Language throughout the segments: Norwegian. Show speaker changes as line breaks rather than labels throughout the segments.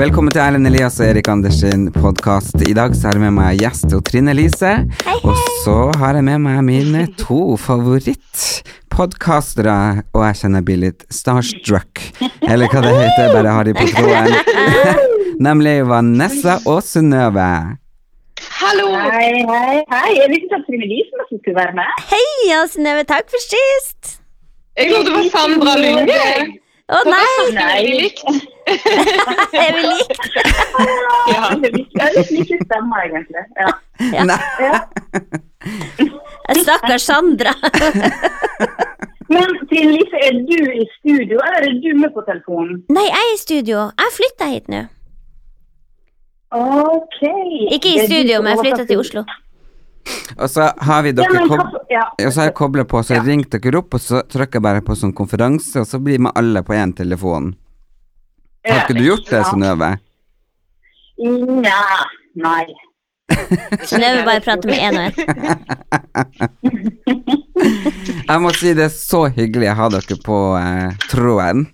Velkommen til Erlend Elias og Erik Anders sin podkast. I dag så har jeg med meg gjest og Trine Lise. Og så har jeg med meg mine to favorittpodkastere, og jeg kjenner jeg blir litt starstruck. Eller hva det heter, bare har de på tråden. Nemlig Vanessa og Synnøve.
Hei, hei, hei. Jeg visste ikke at Trine Lise også skulle være med.
Ja, Synnøve, takk for sist!
Jeg trodde det var Sandra Lunge.
Å nei,
Nei.
er vi like?
Ja. Det er litt like stemmer, egentlig. Ja.
Ja.
Nei,
Stakkars Sandra.
Men Trine Lise, er du i studio, eller er du med på telefonen?
Nei, jeg er i studio. Jeg flytta hit nå.
OK.
Ikke i studio, men jeg flytta til Oslo.
Og så har vi
Ja,
dere
men,
kob...
hva- ja.
Og så har jeg kobla på, så ringte dere opp, og så trykker jeg bare på sånn konferanse, og så blir vi alle på én telefon. Har ikke du gjort det,
Ja.
Synnøve?
Nja, nei.
Synnøve bare prater med én og én.
Jeg må si det er så hyggelig å ha dere på eh, tråden.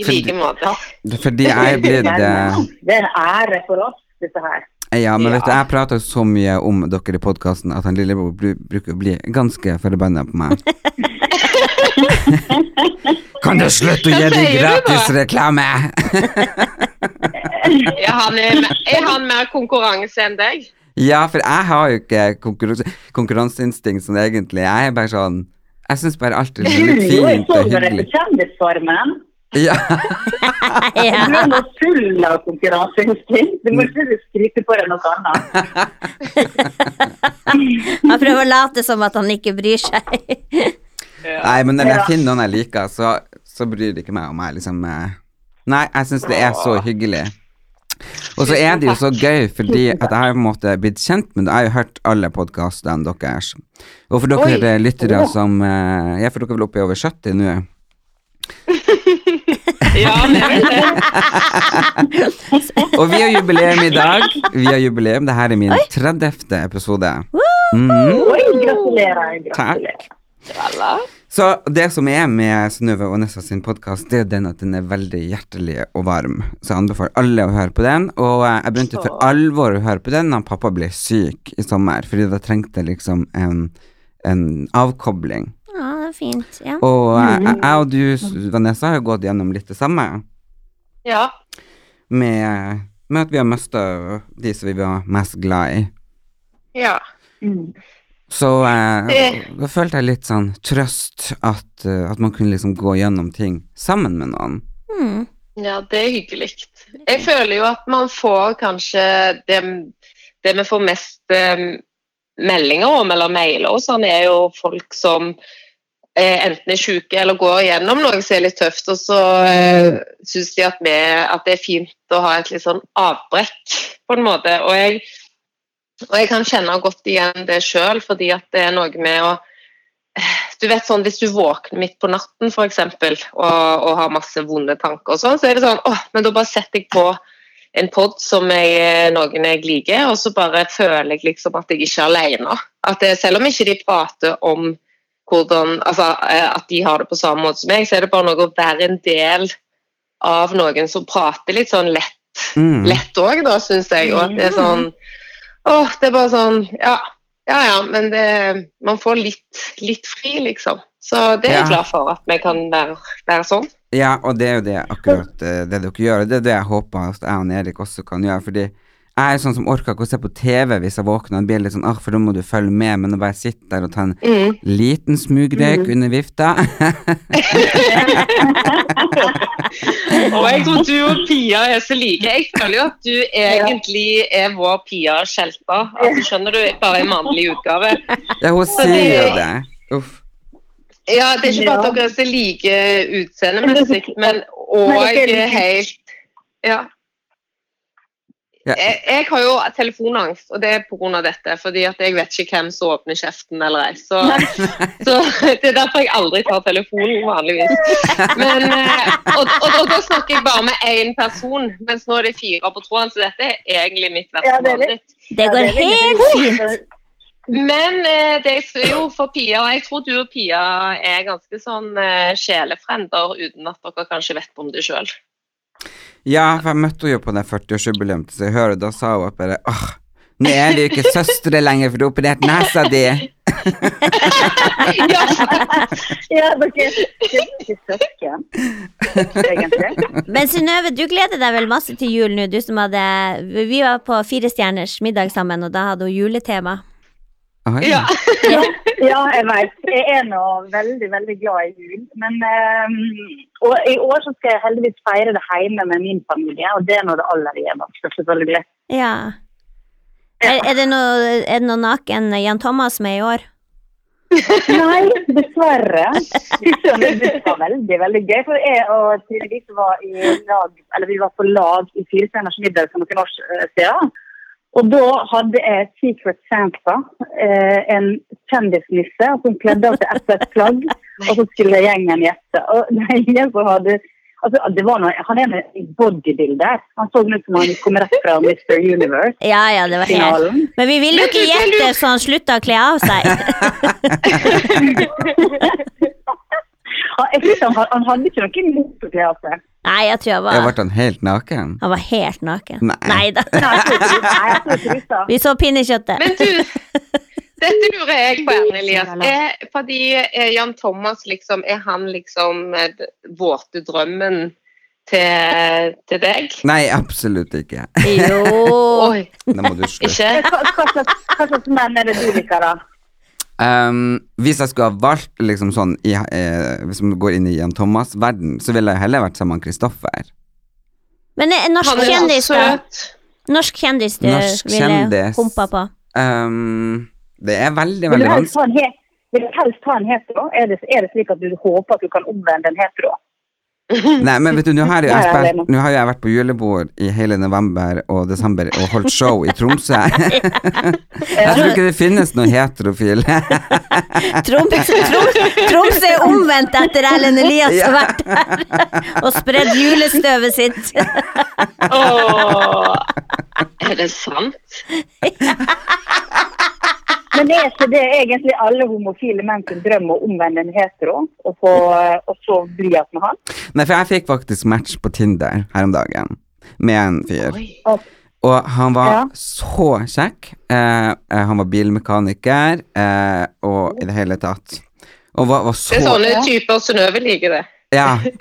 I like måte.
Det er Fordi jeg er blitt eh,
Det er en ære for oss, dette her.
Ja, men vet du, jeg prater så mye om dere i podkasten at han lillebror bru- bruker å bli ganske forbanna på meg. Kan du slutte å gi
Hva
dem
sier du da?
gratis reklame?
Er han, er han mer konkurranse enn deg?
Ja, for jeg har jo ikke konkurranse, konkurranseinstinkt sånn egentlig. Jeg er bare sånn Jeg syns bare alt er litt
Julio, jeg
fint og
så dere på
hyggelig.
Kjendisfarmen.
Ja,
Ja.
Du er nå full av konkurranseinstinkt. Du
Mm.
må ikke skryte på deg noe annet.
Han prøver å late som at han ikke bryr seg.
Nei, men når jeg finner noen jeg liker, så, så bryr det ikke meg om jeg liksom eh. Nei, jeg syns det er så hyggelig. Og så er det jo så gøy, fordi at jeg har på en måte blitt kjent med deg. Jeg har jo hørt alle podkastene deres. Og for dere
Oi.
lyttere som eh, Ja, for dere er vel oppe i over 70 nå.
Ja, det er vel det.
Og vi har jubileum i dag. Vi har jubileum. Det her er min 30. episode. Mhm.
Oi, gratulerer. gratulerer.
Takk. Så det som er med Synnøve og Nessa sin podkast, det er den at den er veldig hjertelig og varm. Så jeg anbefaler alle å høre på den. Og eh, jeg begynte for alvor å høre på den da pappa ble syk i sommer, fordi da trengte jeg liksom en, en avkobling.
Ja, det er fint. Ja.
Og eh, jeg jeg og du, Vanessa, har jo gått gjennom litt det samme,
Ja.
med, med at vi har mista de som vi var mest glad i.
ja.
Mm.
Så eh,
Det-
da følte jeg litt sånn trøst at, eh, at man kunne liksom gå gjennom ting sammen med noen.
Mm.
Ja, det er hyggelig. Jeg føler jo at man får kanskje det, det vi får mest eh, meldinger om, eller mailer og sånn, er jo folk som eh, enten er syke eller går gjennom noe som er litt tøft, og så eh, syns de at, vi, at det er fint å ha et litt sånn avbrekk, på en måte. Og jeg, og jeg kan kjenne godt igjen det sjøl, fordi at det er noe med å du vet sånn, Hvis du våkner midt på natten for eksempel, og, og har masse vonde tanker, og sånn, så er det sånn åh, men da bare setter jeg på en pod som jeg, eh, noen jeg liker, og så bare føler jeg liksom at jeg ikke er alene. At det, selv om ikke de prater om hvordan, altså, eh, at de har det på samme måte som meg, så er det bare noe å være en del av noen som prater litt sånn lett
Mm.
lett òg, da, syns jeg. Og at det er sånn Åh, det er bare sånn Ja, ja, ja men det, man får litt, litt fri, liksom. Så det er
Ja.
jeg glad for, at vi kan være, være sånn.
Ja, og det er jo det akkurat eh, det dere gjør, og det er det jeg håper at jeg og Erik også kan gjøre, fordi Jeg er sånn som orker ikke å se på TV hvis jeg våkner. Det blir litt sånn, ah, for da må du følge med, men å bare sitte der og ta en
Mm.
liten smugrøyk under vifta
Og jeg tror du og Pia er så like. Jeg føler jo at du egentlig er vår Pia Skjelta. Altså, skjønner du? Bare en mannlig utgave.
Ja, hun sier jo det. Uff.
Ja, det er ikke bare at dere er så like utseendemessig, men òg helt Ja.
Ja.
Jeg, jeg har jo telefonangst, og det er pga. dette. fordi at jeg vet ikke hvem som åpner kjeften eller ei. Så, så det er derfor jeg aldri tar telefonen vanligvis. Men, eh, og, og, og da snakker jeg bare med én person, mens nå er det fire på tråden, så dette er egentlig mitt verste
Ja, det er litt-
mareritt.
Det går helt fint.
Men eh, det er jo for Pia, og jeg tror du og Pia er ganske sånn eh, sjelefrender uten at dere kanskje vet om det sjøl.
Ja, for jeg møtte henne jo på det 40-årsjubileet til Se og Hør, og da sa hun at bare åh, nå er vi jo ikke søstre lenger, for du har operert nesa di.
Ja,
Ja, dere dere er ikke søsken, egentlig.
Men Synnøve, du gleder deg vel masse til jul nå, du som hadde Vi var på Fire stjerners middag sammen, og da hadde hun juletema.
Oi.
ja.
Ja, jeg vet. Jeg er nå veldig, veldig glad i jul. Men ehm, og i år så skal jeg heldigvis feire det hjemme med min familie, og det er nå det aller gjeveste, selvfølgelig.
Ja. Er, er, det noe, er det noe naken Jan Thomas med i år?
Nei, dessverre. Fy søren, Det var veldig veldig gøy. For jeg og Trine Lise var i lag, eller vi var på lag i Fire stjerners middag for noen år eh, siden. Og da hadde jeg Secret Santa, eh, en kjendisnisse som kledde av seg etter et plagg. Og så skulle gjengen gjette. Og det er ingen som hadde altså, det var noe, Han er med i bodybuilder. Han så ut som han kom rett fra Mr. Universe.
Ja, ja, det var helt
Finalen.
Men vi ville jo ikke
Men du-
gjette, så han slutta å kle av seg.
Han, jeg synes han, han hadde ikke noe imot altså. å kle av seg.
Nei, jeg tror han
Jeg
var
ble han helt naken.
Han var helt naken.
Nei.
Nei da.
Nei, jeg tror ikke det. Nei, jeg tror ikke det. sa.
Vi så pinnekjøttet.
Men du, dette lurer jeg på, Erne Elias. Er, fordi eh, Jan Thomas, liksom, er han liksom eh, d- våte drømmen til, til deg?
Nei, absolutt ikke.
Jo.
Oi,
Da må du slutte.
ikke?
Hva, hva, slags, hva slags menn er det du liker, da?
Um, hvis jeg skulle ha valgt liksom sånn i, eh, Hvis man går inn i Jan Thomas-verden, så ville jeg heller vært sammen med Kristoffer.
Men eh, norsk
Han er altså- jo
kjendis, da?
søt.
Norsk kjendis du
Norsk
ville
kjendis.
humpa på.
Um, det er veldig,
Vil du sånn
veldig
helst
vanskelig.
ha en, he vil du helst ha en hetero? Er det, er det slik at du håper at du kan omvende en hetero?
Nei, men vet du, nå har, jo
Nei,
jeg
jeg er
spilt,
alene.
nå har jo jeg vært på julebord i hele november og desember og holdt show i Tromsø. jeg tror ikke det finnes noen heterofile.
Troms, Troms, Troms er omvendt etter Erlend Elias har vært der og spredd julestøvet sitt.
Åh, Er det sant?
Men er ikke det egentlig alle homofile menn sin drøm å omvende en hetero, og, få, og så bli at med han?
Nei, for jeg fikk faktisk match på Tinder her om dagen med en fyr.
Oi.
Og han var
Ja.
så kjekk. Eh, eh, han var bilmekaniker eh, og i det hele tatt. Og var, var så
Det er sånn sånne typer Synnøve liker det.
Ja.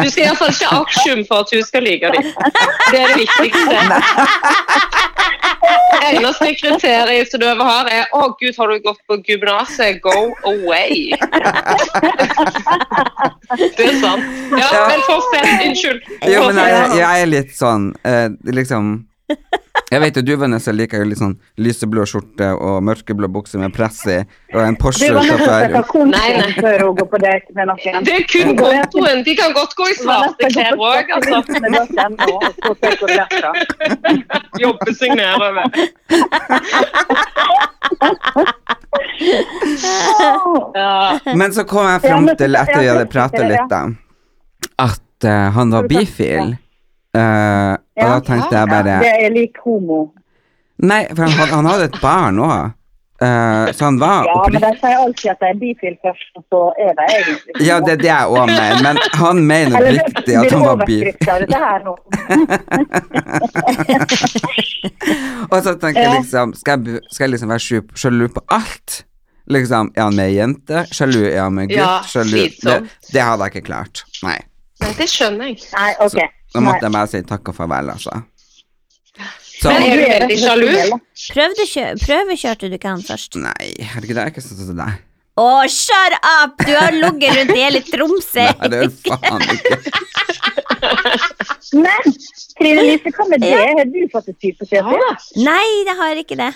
Du skal iallfall ikke ha aksjum for at hun skal like deg. Det er det viktigste. Eneste kriteriet som du over har, er 'Å, gud, har du gått på gymnaset? Go away'. Det er sant. Ja, men fortsett. Unnskyld.
Jo, men jeg, jeg er litt sånn eh, liksom Jeg vet jo du, Vanessa, liker jo litt sånn lyseblå skjorte og mørkeblå bukse med press i, og en
Du
Porsche
var nødt til å sette
utafor.
Nei, nei.
kontoen før hun går på date med noen.
Det er kun kontoen. De kan godt gå i svarte klær òg, altså.
altså.
Jobbe seg nedover. Ja.
Men så kom jeg fram til, etter vi hadde prata litt, da, at eh, han var bifil. Eh, og da
Ja.
tenkte jeg bare
Det er lik homo.
Nei, for han, hadde- han hadde et barn òg. så han var
Ja, men
oppriktig
de sier alltid at de er bifil først, og så er de egentlig homo.
Ja, det er det jeg òg mener, men han mener
Eller
oppriktig at han var bifil.
overskrift av dette her nå.
Og så tenker jeg
Ja.
liksom Skal jeg, bu- skal jeg liksom være sju- sjalu på alt? Liksom, er han med ei jente? Sjalu er han med en gutt?
Ja,
sjalu det,
slitsomt.
det hadde jeg ikke klart. Nei.
Nei, Det skjønner jeg.
Nei, OK.
Da
Nei.
måtte jeg bare si takk og farvel, altså. Så,
Men er du veldig sjalu?
Prøvekjø prøvekjørte du ikke han først?
nei, herregud, jeg er ikke sånn som deg.
Å, shut up! Du har ligget rundt hele Tromsø.
Nei, det er faen ikke.
Men Trine Lise, hva med det? Har du fått et typesjef? Ja.
Nei, det har ikke det.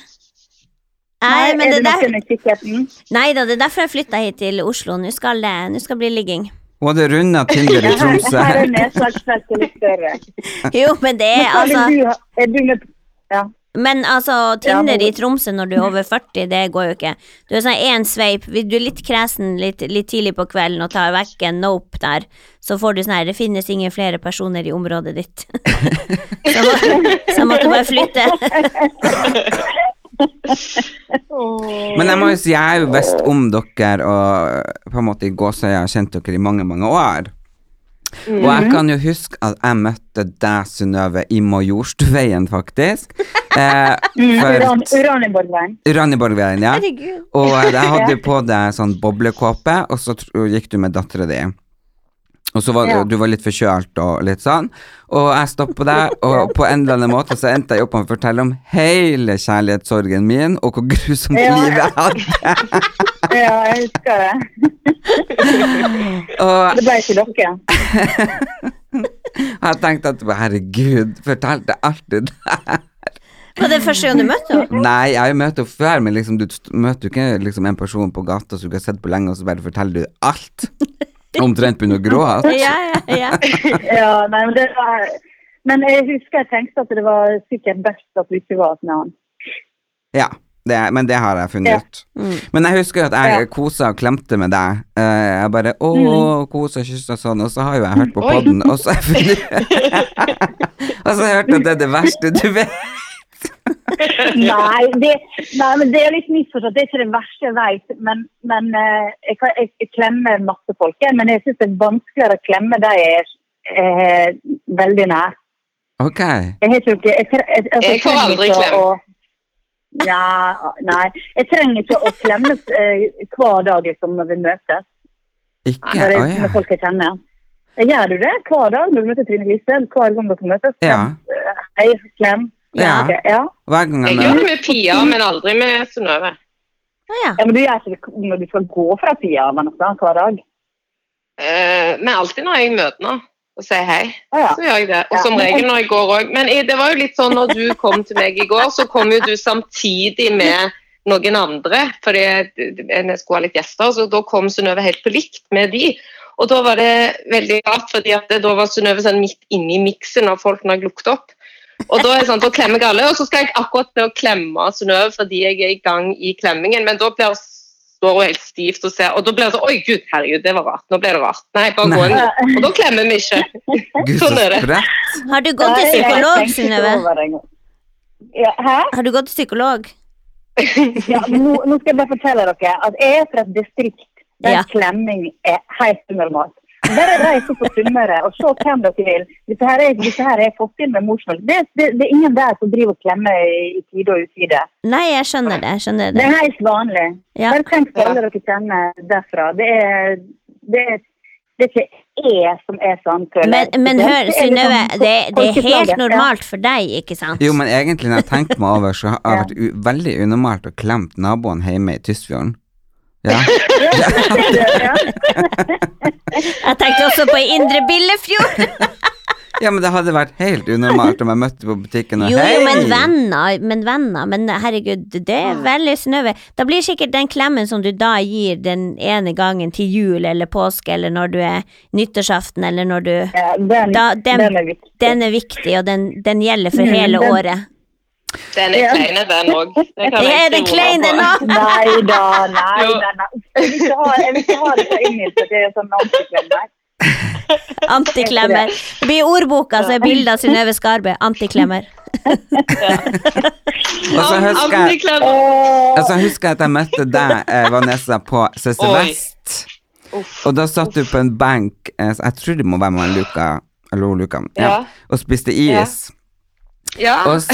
Nei, men det
er det
der,
noe med kikkerten?
nei da, det er derfor jeg flytta hit til Oslo. Nå skal det, nå skal det bli ligging.
Hun hadde runda Tinder i Tromsø.
Her er nedslagsfeltet litt større.
Jo, men det er
Hva
altså
vil du ha- Er du med Ja.
Men altså, Tinder
men-
i Tromsø når du er over 40, det går jo ikke. Du er sånn én sveip, hvis du er litt kresen litt, litt tidlig på kvelden og tar vekk en nope der, så får du sånn her Det finnes ingen flere personer i området ditt. så, må, så måtte du bare flytte.
Men jeg må jo si, jeg er jo best om dere og på en måte i gåsøya har kjent dere i mange, mange år. Og
Mhm.
jeg kan jo huske at jeg møtte deg, Synnøve, i Majorstuveien, faktisk. Eh,
Uran,
for
Uraniborgveien.
Ranniborgveien, ja.
Herregud.
Og jeg hadde jo på deg sånn boblekåpe, og så tr- gikk du med dattera di. Og så var
Ja.
du var litt forkjølt og litt sånn. Og jeg stoppa deg, og på en eller annen måte så endte jeg opp med å fortelle om hele kjærlighetssorgen min, og hvor grusomt
Ja.
livet jeg hadde.
Ja, jeg husker det.
Og
Det ble ikke dere.
jeg tenkte at herregud, fortalte jeg alltid det?
Var det første gang du møtte henne?
Nei, jeg har jo møtt henne før, men liksom, du st- møter jo ikke liksom, en person på gata som du ikke har sett på lenge, og så bare forteller du alt. Omtrent begynner å gråte.
Ja, ja, ja.
Ja, nei, men det var Men jeg husker jeg tenkte at det var sikkert best at du ikke var med han.
Ja, det, er- men det har jeg funnet
Ja.
ut. Men jeg husker jo at jeg kosa og klemte med deg. Eh, jeg bare å, kosa og kyssa og sånn, og så har jo jeg hørt på
Oi.
podden, og så har jeg funnet Og så har jeg hørt at det er det verste du vet.
Nei, det, nei, men det er litt misforstått. Det er ikke det verste jeg vet. Men, men eh, jeg, kan, jeg, jeg klemmer masse folk, jeg, men jeg syns det er vanskeligere å klemme de jeg er eh, veldig nær.
Ok.
Jeg har ikke noe jeg, tre- jeg, altså,
Jeg får
trenger
aldri
ikke
klem.
å- Ja, nei. Jeg trenger ikke å klemmes eh, hver dag liksom, når vi møtes.
Ikke?
Når, jeg,
Å ja.
med folk jeg kjenner. Gjør du det hver dag når du møter Trine Lise? Hver gang dere møtes?
Ja.
Hei, klem.
Ja.
Ok, ja.
Hver gang jeg
Jeg gjør
møter
det med Pia, men aldri med Synnøve.
Å, ja.
ja, men du gjør ikke det når du skal gå fra tida men altså, hver dag?
Eh, Men alltid når jeg møter henne og sier hei,
Å ja.
så gjør jeg det. Og som regel når jeg går òg. Men i- det var jo litt sånn når du kom til meg i går, så kom jo du samtidig med noen andre, fordi jeg skulle ha litt gjester, så da kom Synnøve helt på likt med de. Og da var det veldig rart, fordi at det, da var Synnøve sånn midt inni miksen av folk når jeg lukket opp. Og da er det sånn, da klemmer jeg alle, og så skal jeg akkurat til å klemme Synnøve fordi jeg er i gang i klemmingen, men da blir står hun helt stivt og ser, og da blir det sånn Oi, gud, herregud, det var rart. Nå ble det rart. Nei, bare gå inn. Og da klemmer vi ikke.
Gud, så
Sånn er det.
sprøtt.
Har du gått til
Nei, jeg
psykolog,
tenkte ikke
Synnøve?
over det engang. Ja, hæ?
Har du gått til psykolog?
Ja, men nå, nå skal jeg bare fortelle dere at jeg er fra et distrikt der
Ja.
klemming er helt unormalt. Bare reis opp på Sunnmøre og se hvem dere vil. Dette her er, dette her er fått inn med morsmål. Det, det, det er ingen der som driver og klemmer i, i tide og utide.
Nei, jeg skjønner det. Jeg skjønner
Det
det.
er helt vanlig.
Ja.
Bare tenk på alle dere kjenner derfra. Det er, det er det er ikke jeg som er sånn. føler jeg.
Men, men hør,
Det er liksom
Synnøve, det, det er
folkeslaget.
helt normalt for deg, ikke sant?
Jo, men egentlig når jeg tenker meg over, så har jeg vært u veldig unormalt og klemt naboen hjemme i Tysfjorden. Ja.
Ja.
Jeg tenkte også på Indre Billefjord.
ja, men det hadde vært helt unormalt om jeg møtte på butikken og
Jo,
hei!
jo, men venner, men venner, men herregud, det er
Mm.
veldig snøve. Da blir sikkert den klemmen som du da gir den ene gangen til jul eller påske, eller når du er nyttårsaften, eller når du
Ja, den,
da,
den,
den,
er viktig. Mm,
den er viktig, og den, den gjelder for hele
den-
året.
Den er klein, den òg.
Er den klein, den òg?
Nei da, nei,
Jo.
nei, nei. Jeg vil ikke ha- jeg vil ikke ha det på engelsk. at Det er sånn antiklem, nei.
Antiklemmer. Det blir i ordboka, så er bildet av Synnøve Skarbø antiklemmer.
Og så husker jeg
Åh,
Altså, jeg husker at jeg møtte deg, eh, Vanessa, på CC
Oi.
Vest. Og da satt du på en benk, eh, så jeg tror det må være med Luka, eller hun Luka, ja,
Ja.
og spiste is.
Ja.
Og så,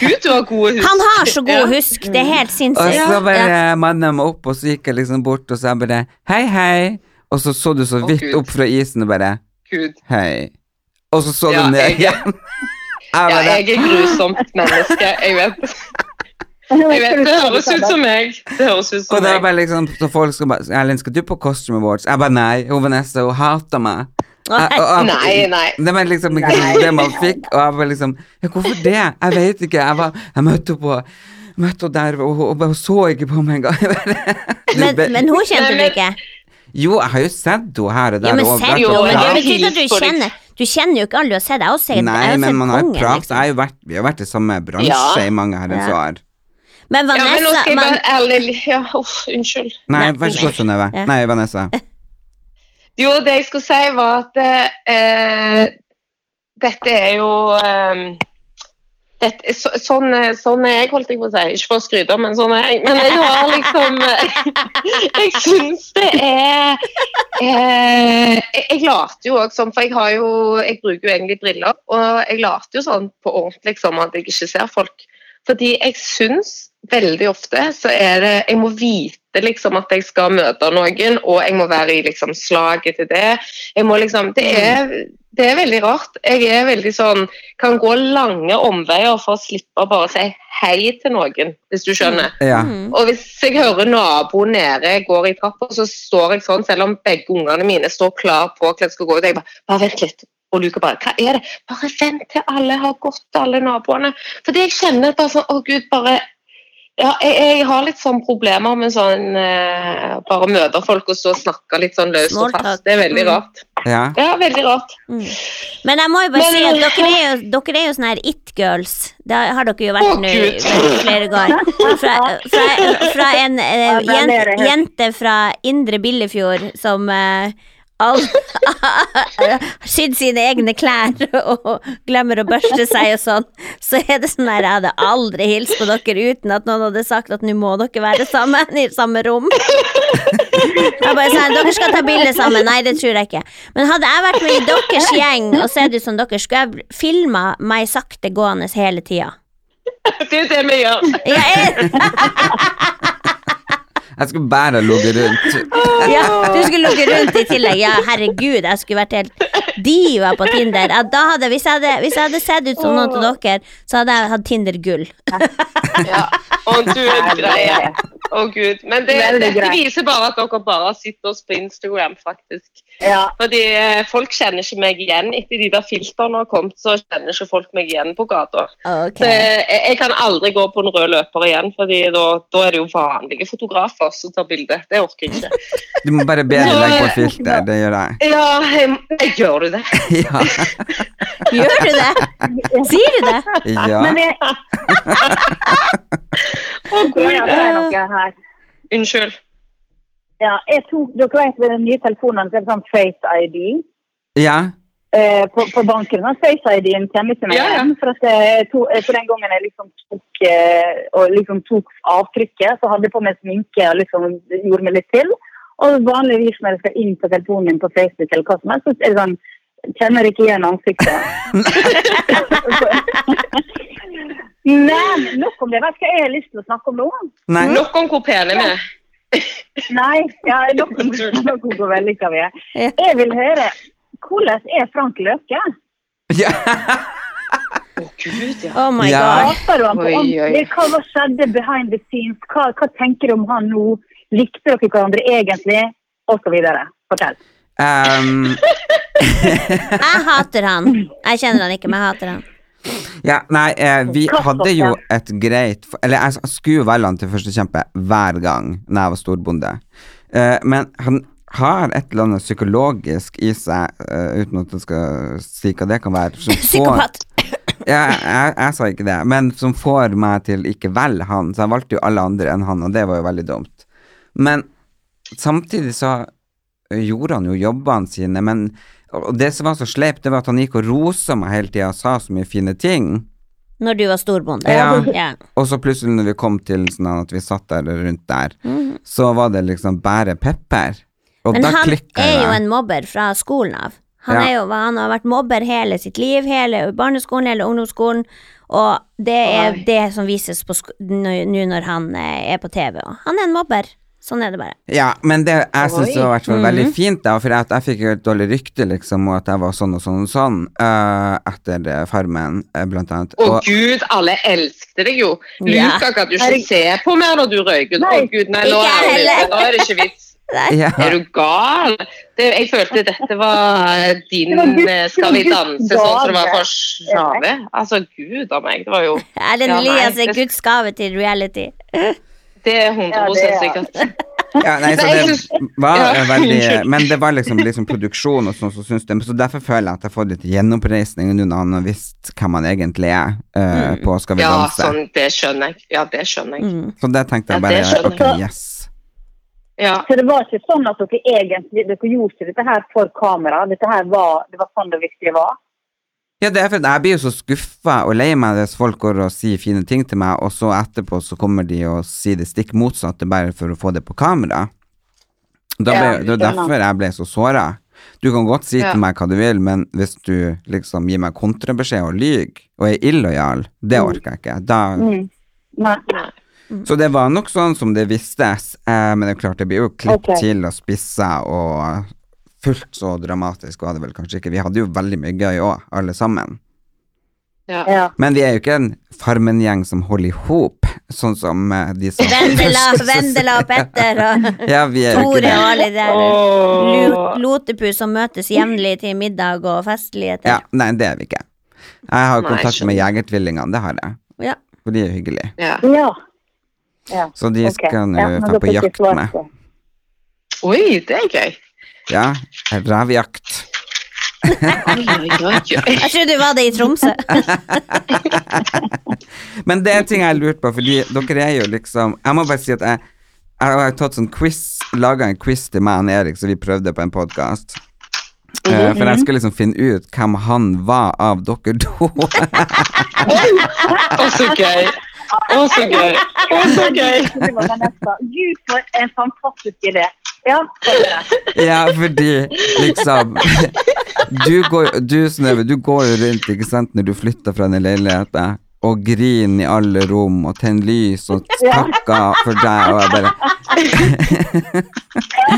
Gud, du har gode hus.
Han har så
Ja.
god husk, det er helt
og
sinnssykt.
så bare
Ja.
eh, mannen meg opp, og så gikk jeg liksom bort, og så jeg bare hei, hei. Og så så du så
Å,
vidt
Gud.
opp fra isen og bare
Gud.
hei. Og så så du
Ja,
ned
jeg-
igjen. Jeg
Ja,
bare,
jeg er grusomt menneske. Jeg vet. Jeg vet. Det høres ut som meg. Det høres ut
og
som
det er
meg.
bare liksom, så folk skal bare Erlend, skal du på Costume Awards? Jeg bare nei. Hun Vanessa, hun hater meg.
Nei.
Jeg- og jeg-
Nei, nei.
Det var liksom ikke det man fikk, og jeg bare liksom ja, Hvorfor det? Jeg vet ikke. Jeg, var, jeg møtte henne på Møtte henne der, og hun, og hun så ikke på meg engang. Du
Men,
be-
men hun
Nei,
kjente du
men-
ikke?
Jo, jeg har jo sett henne her og der.
Ja, men
og
sett
overalt.
Jo,
jo, men
ja.
det betyr ikke at
Hils
du
på de.
kjenner Du kjenner jo ikke alle du har sett. Jeg har sett, jeg
Nei,
har
men
sett
man har jo
kongen,
pratet.
liksom.
Jeg har jo vært, vi har vært i samme bransje
Ja.
i mange herrens
Ja.
år.
Men
Ja, men nå
Vanessa
skal jeg
men,
bare ærlig Ja, uff, unnskyld.
Nei,
Nei,
vær så god, Synnøve.
Ja.
Nei, Vanessa.
Jo, det jeg skulle si var at eh, dette er jo eh, dette, så, sånn, eh, sånn er jeg, holdt jeg på å si. Ikke for å skryte, men sånn er jeg. Men jeg har liksom eh, Jeg syns det er eh, Jeg, jeg later jo òg sånn, for jeg har jo Jeg bruker jo egentlig briller, og jeg later jo sånn på ordentlig som at jeg ikke ser folk. Fordi jeg syns veldig ofte så er det Jeg må vite liksom at jeg skal møte noen, og jeg må være i liksom slaget til det. Jeg må liksom Det er, det er veldig rart. Jeg er veldig sånn Kan gå lange omveier for å slippe å bare si hei til noen, hvis du skjønner.
Ja.
Mm.
Og hvis jeg hører naboen nede går i trappa, så står jeg sånn, selv om begge ungene mine står klar på hva jeg skal gå ut. Jeg bare, bare vent litt. Og Luka bare, hva er det? Bare vent til alle har gått, alle naboene. Fordi jeg kjenner bare sånn, å Gud, bare ja, jeg, jeg har litt sånn problemer med sånn eh, Bare møter folk og så snakke litt sånn løst og
Small talk.
fast. Det er veldig
Mm.
rart.
ja.
Ja, veldig rart.
Mm. Men jeg må jo bare
Men-
si at dere er jo, dere er jo sånne her it-girls. Det har dere jo vært
Å,
nå
Gud.
i flere ganger. Fra, fra, fra en eh,
Ja, den er det
jen,
helt.
jente fra Indre Billefjord som eh, all, har sydd sine egne klær og glemmer å børste seg og sånn, så er det sånn her Jeg hadde aldri hilst på dere uten at noen hadde sagt at nå må dere være sammen i samme rom. Jeg bare sa, dere skal ta bilde sammen. Nei, det tror jeg ikke. Men hadde jeg vært med i deres gjeng og sett ut som dere, skulle jeg filma meg sakte gående hele tida.
Det er det vi gjør.
Ja, jeg-
Jeg skulle bare ligget rundt.
ja, du skulle lugge rundt i tillegg. Ja, herregud, jeg skulle vært helt diva på Tinder. Ja, da hadde, hvis, jeg hadde, hvis jeg hadde sett ut som noen av dere, så hadde jeg hatt Tinder-gull.
Ja. Og du er en greie. Å Gud. Men det,
Veldig
dette
grei.
viser bare at dere bare sitter oss på Instagram, faktisk.
Ja.
Fordi eh, folk kjenner ikke meg igjen. Etter de der filterne har kommet, så kjenner ikke folk meg igjen på gata. Så eh,
Ok.
jeg, jeg kan aldri gå på en rød løper igjen, fordi da, da er det jo vanlige fotografer som tar bilde. Det orker jeg ikke.
Du må bare be dem legge på filter, det gjør jeg.
Ja, jeg, jeg gjør du det?
Ja.
Gjør du det? Sier du det?
ja.
Men jeg,
Å
ja,
Gud.
det er noe her.
Unnskyld.
Ja, jeg tok, dere vet ved den nye telefonen, så er det sånn Face ID
ja.
eh, på, på banken. Sånn Face ID-en kjenner ikke meg
Ja, ja.
igjen. For, at jeg to, eh, for den gangen jeg liksom tok, eh, og liksom tok avtrykket, så hadde jeg på meg sminke og liksom gjorde meg litt til. Og vanligvis når jeg skal inn på telefonen min på Facebook eller hva som helst, så er det sånn Kjenner ikke igjen ansiktet. Men nok om det. Vet du hva jeg har lyst til å snakke om nå?
Nei.
Nok om hvor pene vi er.
Nei, ja, noen, noen går veldig hva vi er. Jeg vil høre, hvordan er Frank Løke?
Ja.
Oh my
Ja.
god.
Hater du han på
Oi, oi.
ordentlig? Hva var skjedde behind the scenes? Hva, hva tenker du om han nå? Likte dere hverandre egentlig? Og så videre. Fortell.
Um,
Jeg hater han. Jeg kjenner han ikke, men jeg hater han.
ja, nei, eh, vi hadde jo et greit Eller jeg s- skulle jo velge han til førstekjempe hver gang Når jeg var storbonde. Eh, men han har et eller annet psykologisk i seg, eh, uten at jeg skal si hva det kan være. som får-
Psykopat.
Ja, jeg, jeg sa ikke det, men som får meg til ikke velge han, så jeg valgte jo alle andre enn han, og det var jo veldig dumt. Men samtidig så gjorde han jo jobbene sine, men og det som var så sleipt, det var at han gikk og rosa meg hele tida og sa så mye fine ting,
Når du var storbonde.
Ja.
ja.
og så plutselig når vi kom til sånn at vi satt der rundt der, så var det liksom bare pepper, og
Mhm. Men
da
han
klikka
er jo
jeg.
en mobber fra skolen av. Han,
Ja.
er jo, han har vært mobber hele sitt liv, hele barneskolen, hele ungdomsskolen, og det er
Oi.
det som vises på sk- nå nå når han eh, er på TV. Og Han er en mobber. Sånn er det bare.
Ja, men det jeg syns det var i hvert fall veldig
Mhm.
fint, da, for at jeg fikk jo et dårlig rykte, liksom, og at jeg var sånn og sånn og sånn eh, etter eh, Farmen, eh, blant annet.
Å gud, alle elsket deg jo.
Ja.
Luka kan du ikke
Herregud.
se på mer når du røyker. Å gud, nei, nå
Ikke
er, det,
heller.
nå er det ikke vits.
ja,
Er du gal? Det, jeg følte dette var din
Det var Guds-
eh, Skal vi
det var
danse,
Guds
sånn som det var
gave.
for Sjave. Altså, gud a meg. Det var jo
Erlend
Ja, nei,
Elias er Altså,
det-
Guds gave til reality.
Det er 100
Ja, det er-
sikkert.
ja, nei, så
Nei, jeg
det
synes-
var
Ja,
eh, veldig
unnskyld.
Men det var liksom, liksom produksjon og sånn som syns det. Så derfor føler jeg at jeg har fått litt gjenoppreisning nå når han har visst hvem han egentlig er eh, på Skal vi
Mm. Ja,
danse.
sånn, det skjønner jeg. Ja, det skjønner jeg.
Mm.
Så det tenkte jeg
Ja,
bare
det skjønner
Ok,
jeg.
yes.
Ja.
Så det var ikke sånn at dere egentlig dere gjorde ikke dette her for kamera? Dette her var, det var sånn det virkelig var?
Ja, det er fordi jeg blir jo så skuffa og lei meg hvis folk går og sier fine ting til meg, og så etterpå så kommer de og sier det stikk motsatte bare for å få det på kamera. Da ble,
Ja,
det var
skjønner.
derfor jeg ble så såra. Du kan godt si
Ja.
til meg hva du vil, men hvis du liksom gir meg kontrabeskjed og lyver og er illojal, det orker jeg ikke. Da,
Mm. Nei.
så det var nok sånn som det vistes, eh, men det er klart det blir jo klipp
Ok.
til og spissa og fullt så dramatisk var det vel kanskje ikke. Vi hadde jo veldig mye gøy òg, alle sammen.
Ja.
Ja.
Men vi er jo ikke en Farmen-gjeng som holder i hop, sånn som eh, de som
Vendela, Vendela og Petter og
Ja, vi er jo ikke
Tore
det.
og alle de der
Åh.
lu- lotepus som møtes jevnlig til middag og festligheter.
Ja, nei, det er vi ikke. Jeg har
Nei,
kontakt med
skjønner.
Jegertvillingene, det har jeg.
Ja.
For de er hyggelige.
Ja.
ja. ja.
Så de
Ok.
skal nå
Ja, men
dra
dere
på
fikk
jakt
svar
med.
på.
Oi, det er gøy.
Ja, revjakt.
Oi, oi, oi, oi.
Jeg trodde du var det i Tromsø.
Men det er en ting jeg lurte på, fordi dere er jo liksom Jeg må bare si at jeg, jeg har tatt sånn quiz, laga en quiz til meg og Erik, som vi prøvde på en podkast.
Mhm.
for jeg skulle liksom finne ut hvem han var av dere to.
Å, så gøy. Å, så gøy. Å, så gøy.
Det var Vanessa. Gud, for en fantastisk idé. Ja, det er det.
ja, fordi liksom Du, går, du Synnøve, du går jo rundt ikke sant, når du flytter fra den leiligheten, og griner i alle rom, og tenner lys og takker for deg, og jeg bare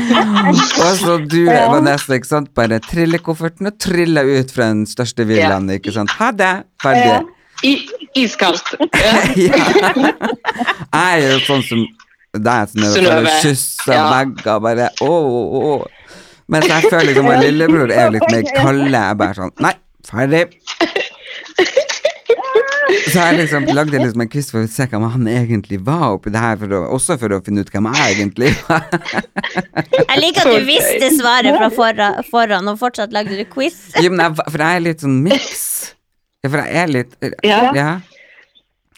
Og så du, Vanessa, ikke sant, bare triller kofferten og triller ut fra den største villaen, ikke sant. Ha det! Ferdig.
I, iskaldt. Ja.
Ja. Jeg er jo sånn som sånn deg, Synnøve, bare
Synnøve.
kysser
Ja.
vegger, bare å, å, å. Mens jeg føler liksom at lillebror er jo litt mer kalde. Jeg er bare sånn Nei, ferdig. Så jeg liksom lagde liksom en quiz for å se hvem han egentlig var oppi det her, for å, også for å finne ut hvem jeg egentlig var.
Jeg liker at du visste svaret fra forra- forhånd, og fortsatt lagde du quiz.
Jo, men jeg, var- for jeg er litt sånn miks. Ja, for jeg er litt
Ja.
ja.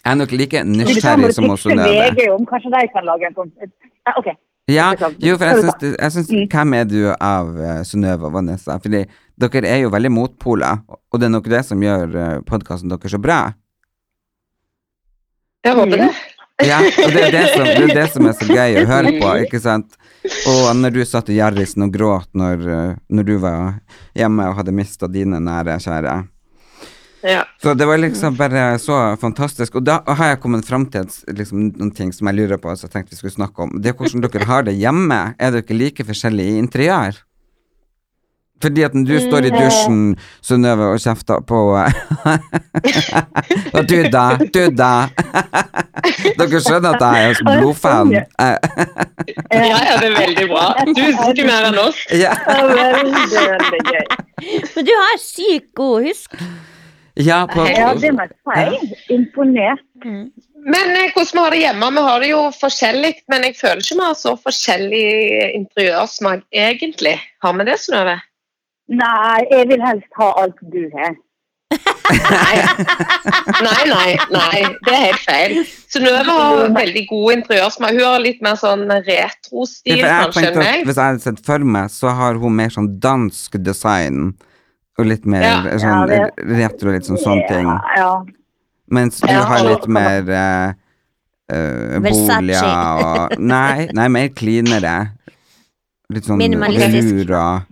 Jeg er nok like
Det kan
nysgjerrig
du
som oss
tipse
Synnøve.
VG om. Kanskje de kan lage en sånn ja, OK.
Ja,
Beklager.
jo, for jeg
Sorry,
syns, det- jeg syns Hvem er du av uh, Synnøve og Vanessa? Fordi dere er jo veldig motpoler, og det er nok det som gjør uh, podkasten deres så bra.
Jeg håper det.
Ja, og det er det, som, det er det som er så gøy å høre på, ikke sant? Og når du satt i Jarrisen og gråt når, uh, når du var hjemme og hadde mista dine nære kjære.
Ja.
Så det var liksom bare så fantastisk. Og da har jeg kommet fram til et, liksom, noen ting som jeg lurer på, som jeg tenkte vi skulle snakke om. Det er hvordan dere har det hjemme. Er dere like forskjellige i interiør? Fordi at når du står
Mm, eh.
i dusjen, Synnøve, og kjefter på eh, Og du, da? Du, da? dere skjønner at jeg er en
sånn,
blodfan? Eh,
ja, ja, det er veldig bra. Du husker mer enn oss.
Ja.
Det er Veldig, veldig gøy.
Men du har sykt god husk.
ja, på
Ja, det må jeg si. Imponert.
Men eh, hvordan vi har det hjemme? Vi har det jo forskjellig, men jeg føler ikke vi har så forskjellig interiørsmak egentlig. Har vi det, Synnøve?
Nei, jeg vil helst ha alt du har.
Nei, nei, nei. Det er helt feil. Synnøve har veldig god interiørsmak. Hun har litt mer sånn
Ja, for
retro-stil
jeg
kanskje
tenkte
enn
at
meg.
Hvis jeg hadde sett for meg, så har hun mer sånn dansk design. Og litt mer
Ja.
sånn
Ja, det-
retro, litt sånn sånne ting.
Ja.
Mens du
Ja,
har
og-
litt mer eh, eh,
Versace.
boliger og Nei, nei, mer cleanere. Litt sånn
Minimalistisk.
rur og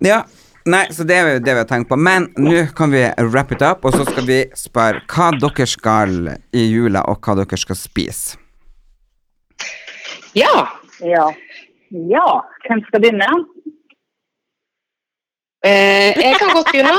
Ja. Nei, så det er jo det vi har tenkt på. Men nå kan vi wrap it up, og så skal vi spørre hva dere skal i jula, og hva dere skal spise.
Ja.
Ja. ja. Hvem skal begynne?
Eh, jeg kan godt begynne.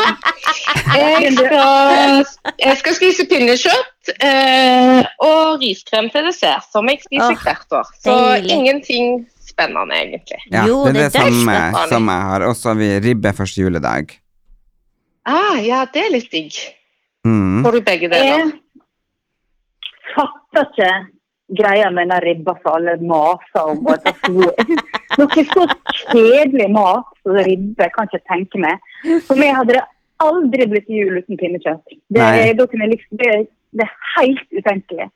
Jeg skal, jeg skal spise pinnekjøtt eh, og riskrem til dessert, som jeg spiser
Åh,
hvert år. Så
deilig.
ingenting spennende, egentlig.
Ja,
Jo,
det er det,
det er dørs,
samme
da,
Arne.
som jeg har. Og så har vi ribbe første juledag.
Ah, ja, det er litt digg.
Mm.
Får du begge
Jeg
deler?
fatter ikke greia med den ribba som alle maser om. og at det er så- Noe så kjedelig mat som ribbe kan ikke tenke meg. For meg hadde det aldri blitt jul uten pinnekjøtt. Det,
Nei.
er- da kunne jeg liksom, det, det er helt utenkelig.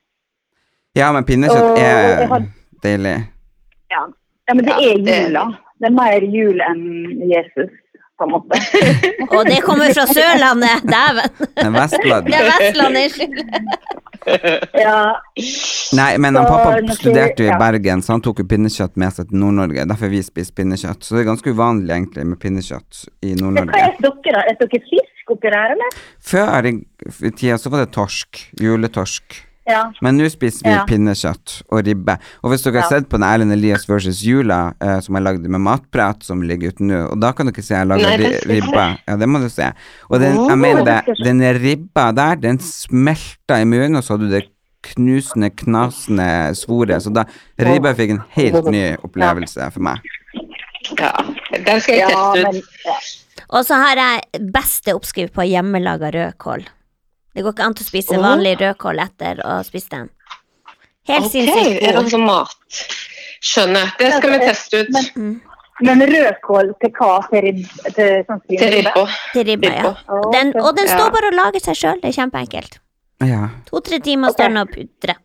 Ja, men pinnekjøtt
Og-
er
jeg har-
deilig.
Ja, ja men det
Ja,
er
det-
jula. Det er mer jul enn Jesus, på en måte.
Og det kommer fra Sørlandet! Dæven!
Men Vestland
Det er Vestlandet, unnskyld.
Ja,
Sånn,
Nei, men han
Så
pappa
når vi-
studerte jo i
ja.
Bergen, så han tok jo pinnekjøtt med seg til Nord-Norge. Derfor vi spiser pinnekjøtt. Så det er ganske uvanlig egentlig med pinnekjøtt i
men Hva
Nord-Norge.
er dere, da? Er dere fisk oppi der, eller?
Før i i tida så var det torsk. Juletorsk.
Ja.
Men nå spiser vi
Ja.
pinnekjøtt og ribbe. Og hvis dere har
Ja.
sett på den Erlend Elias versus jula, eh, som jeg lagde med matprat, som ligger ute nå, og da kan dere se jeg lager
Nei,
ri
det skal jeg
ribba. Ja, det må du se. Og den, jeg mener det, den ribba der, den smelta i munnen, og så hadde du det knusende, knasende svoret. Så da ribba fikk en helt ny opplevelse for meg.
Ja. Den skal jeg
Ja,
teste
men,
ut.
ja.
Og så har jeg beste oppskrift på hjemmelaga rødkål. Det går ikke an til å spise vanlig rødkål etter å ha spist den. Helt
Ok,
sinnssykt
er det sånn-
god.
som mat? Skjønner. Det skal vi teste ut
Mm,
men rødkål til hva? Til, rib, til sånn
til
svineribbe?
ribba.
Til ribba, ja.
Å,
Den,
ok.
og den
Ja.
står bare og lager seg sjøl. Det er kjempeenkelt.
Ja.
To-tre timer står den og putrer.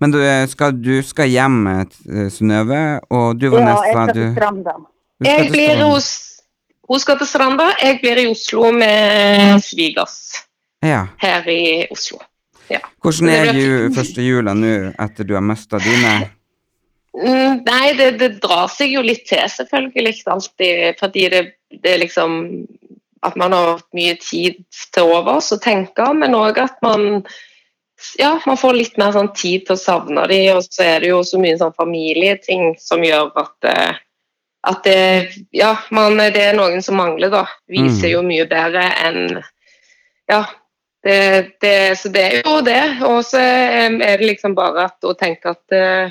Men du eh, skal, du skal hjem, eh, Synnøve, og du
Ja, jeg
Vanessa,
skal
sånn du,
til Stranda.
du skal
Jeg
til
blir
Stavanger.
hos Hun skal til Stranda, jeg blir i Oslo med svigers
Ja.
her i Oslo.
Hvordan
Det
er
blir-
ju, første jula nå etter du har mista dine?
Mm, Nei, det, det drar seg jo litt til, selvfølgelig. Alltid, fordi det, det er liksom At man har hatt mye tid til overs å tenke, men òg at man ja, man får litt mer sånn tid til å savne de, og så er det jo så mye sånn familieting som gjør at eh, at det, ja, man, det er noen som mangler, da.
Mm.
Viser jo mye bedre enn Ja. Det, det, så det er jo det. Og så eh, er det liksom bare at, å tenke at eh,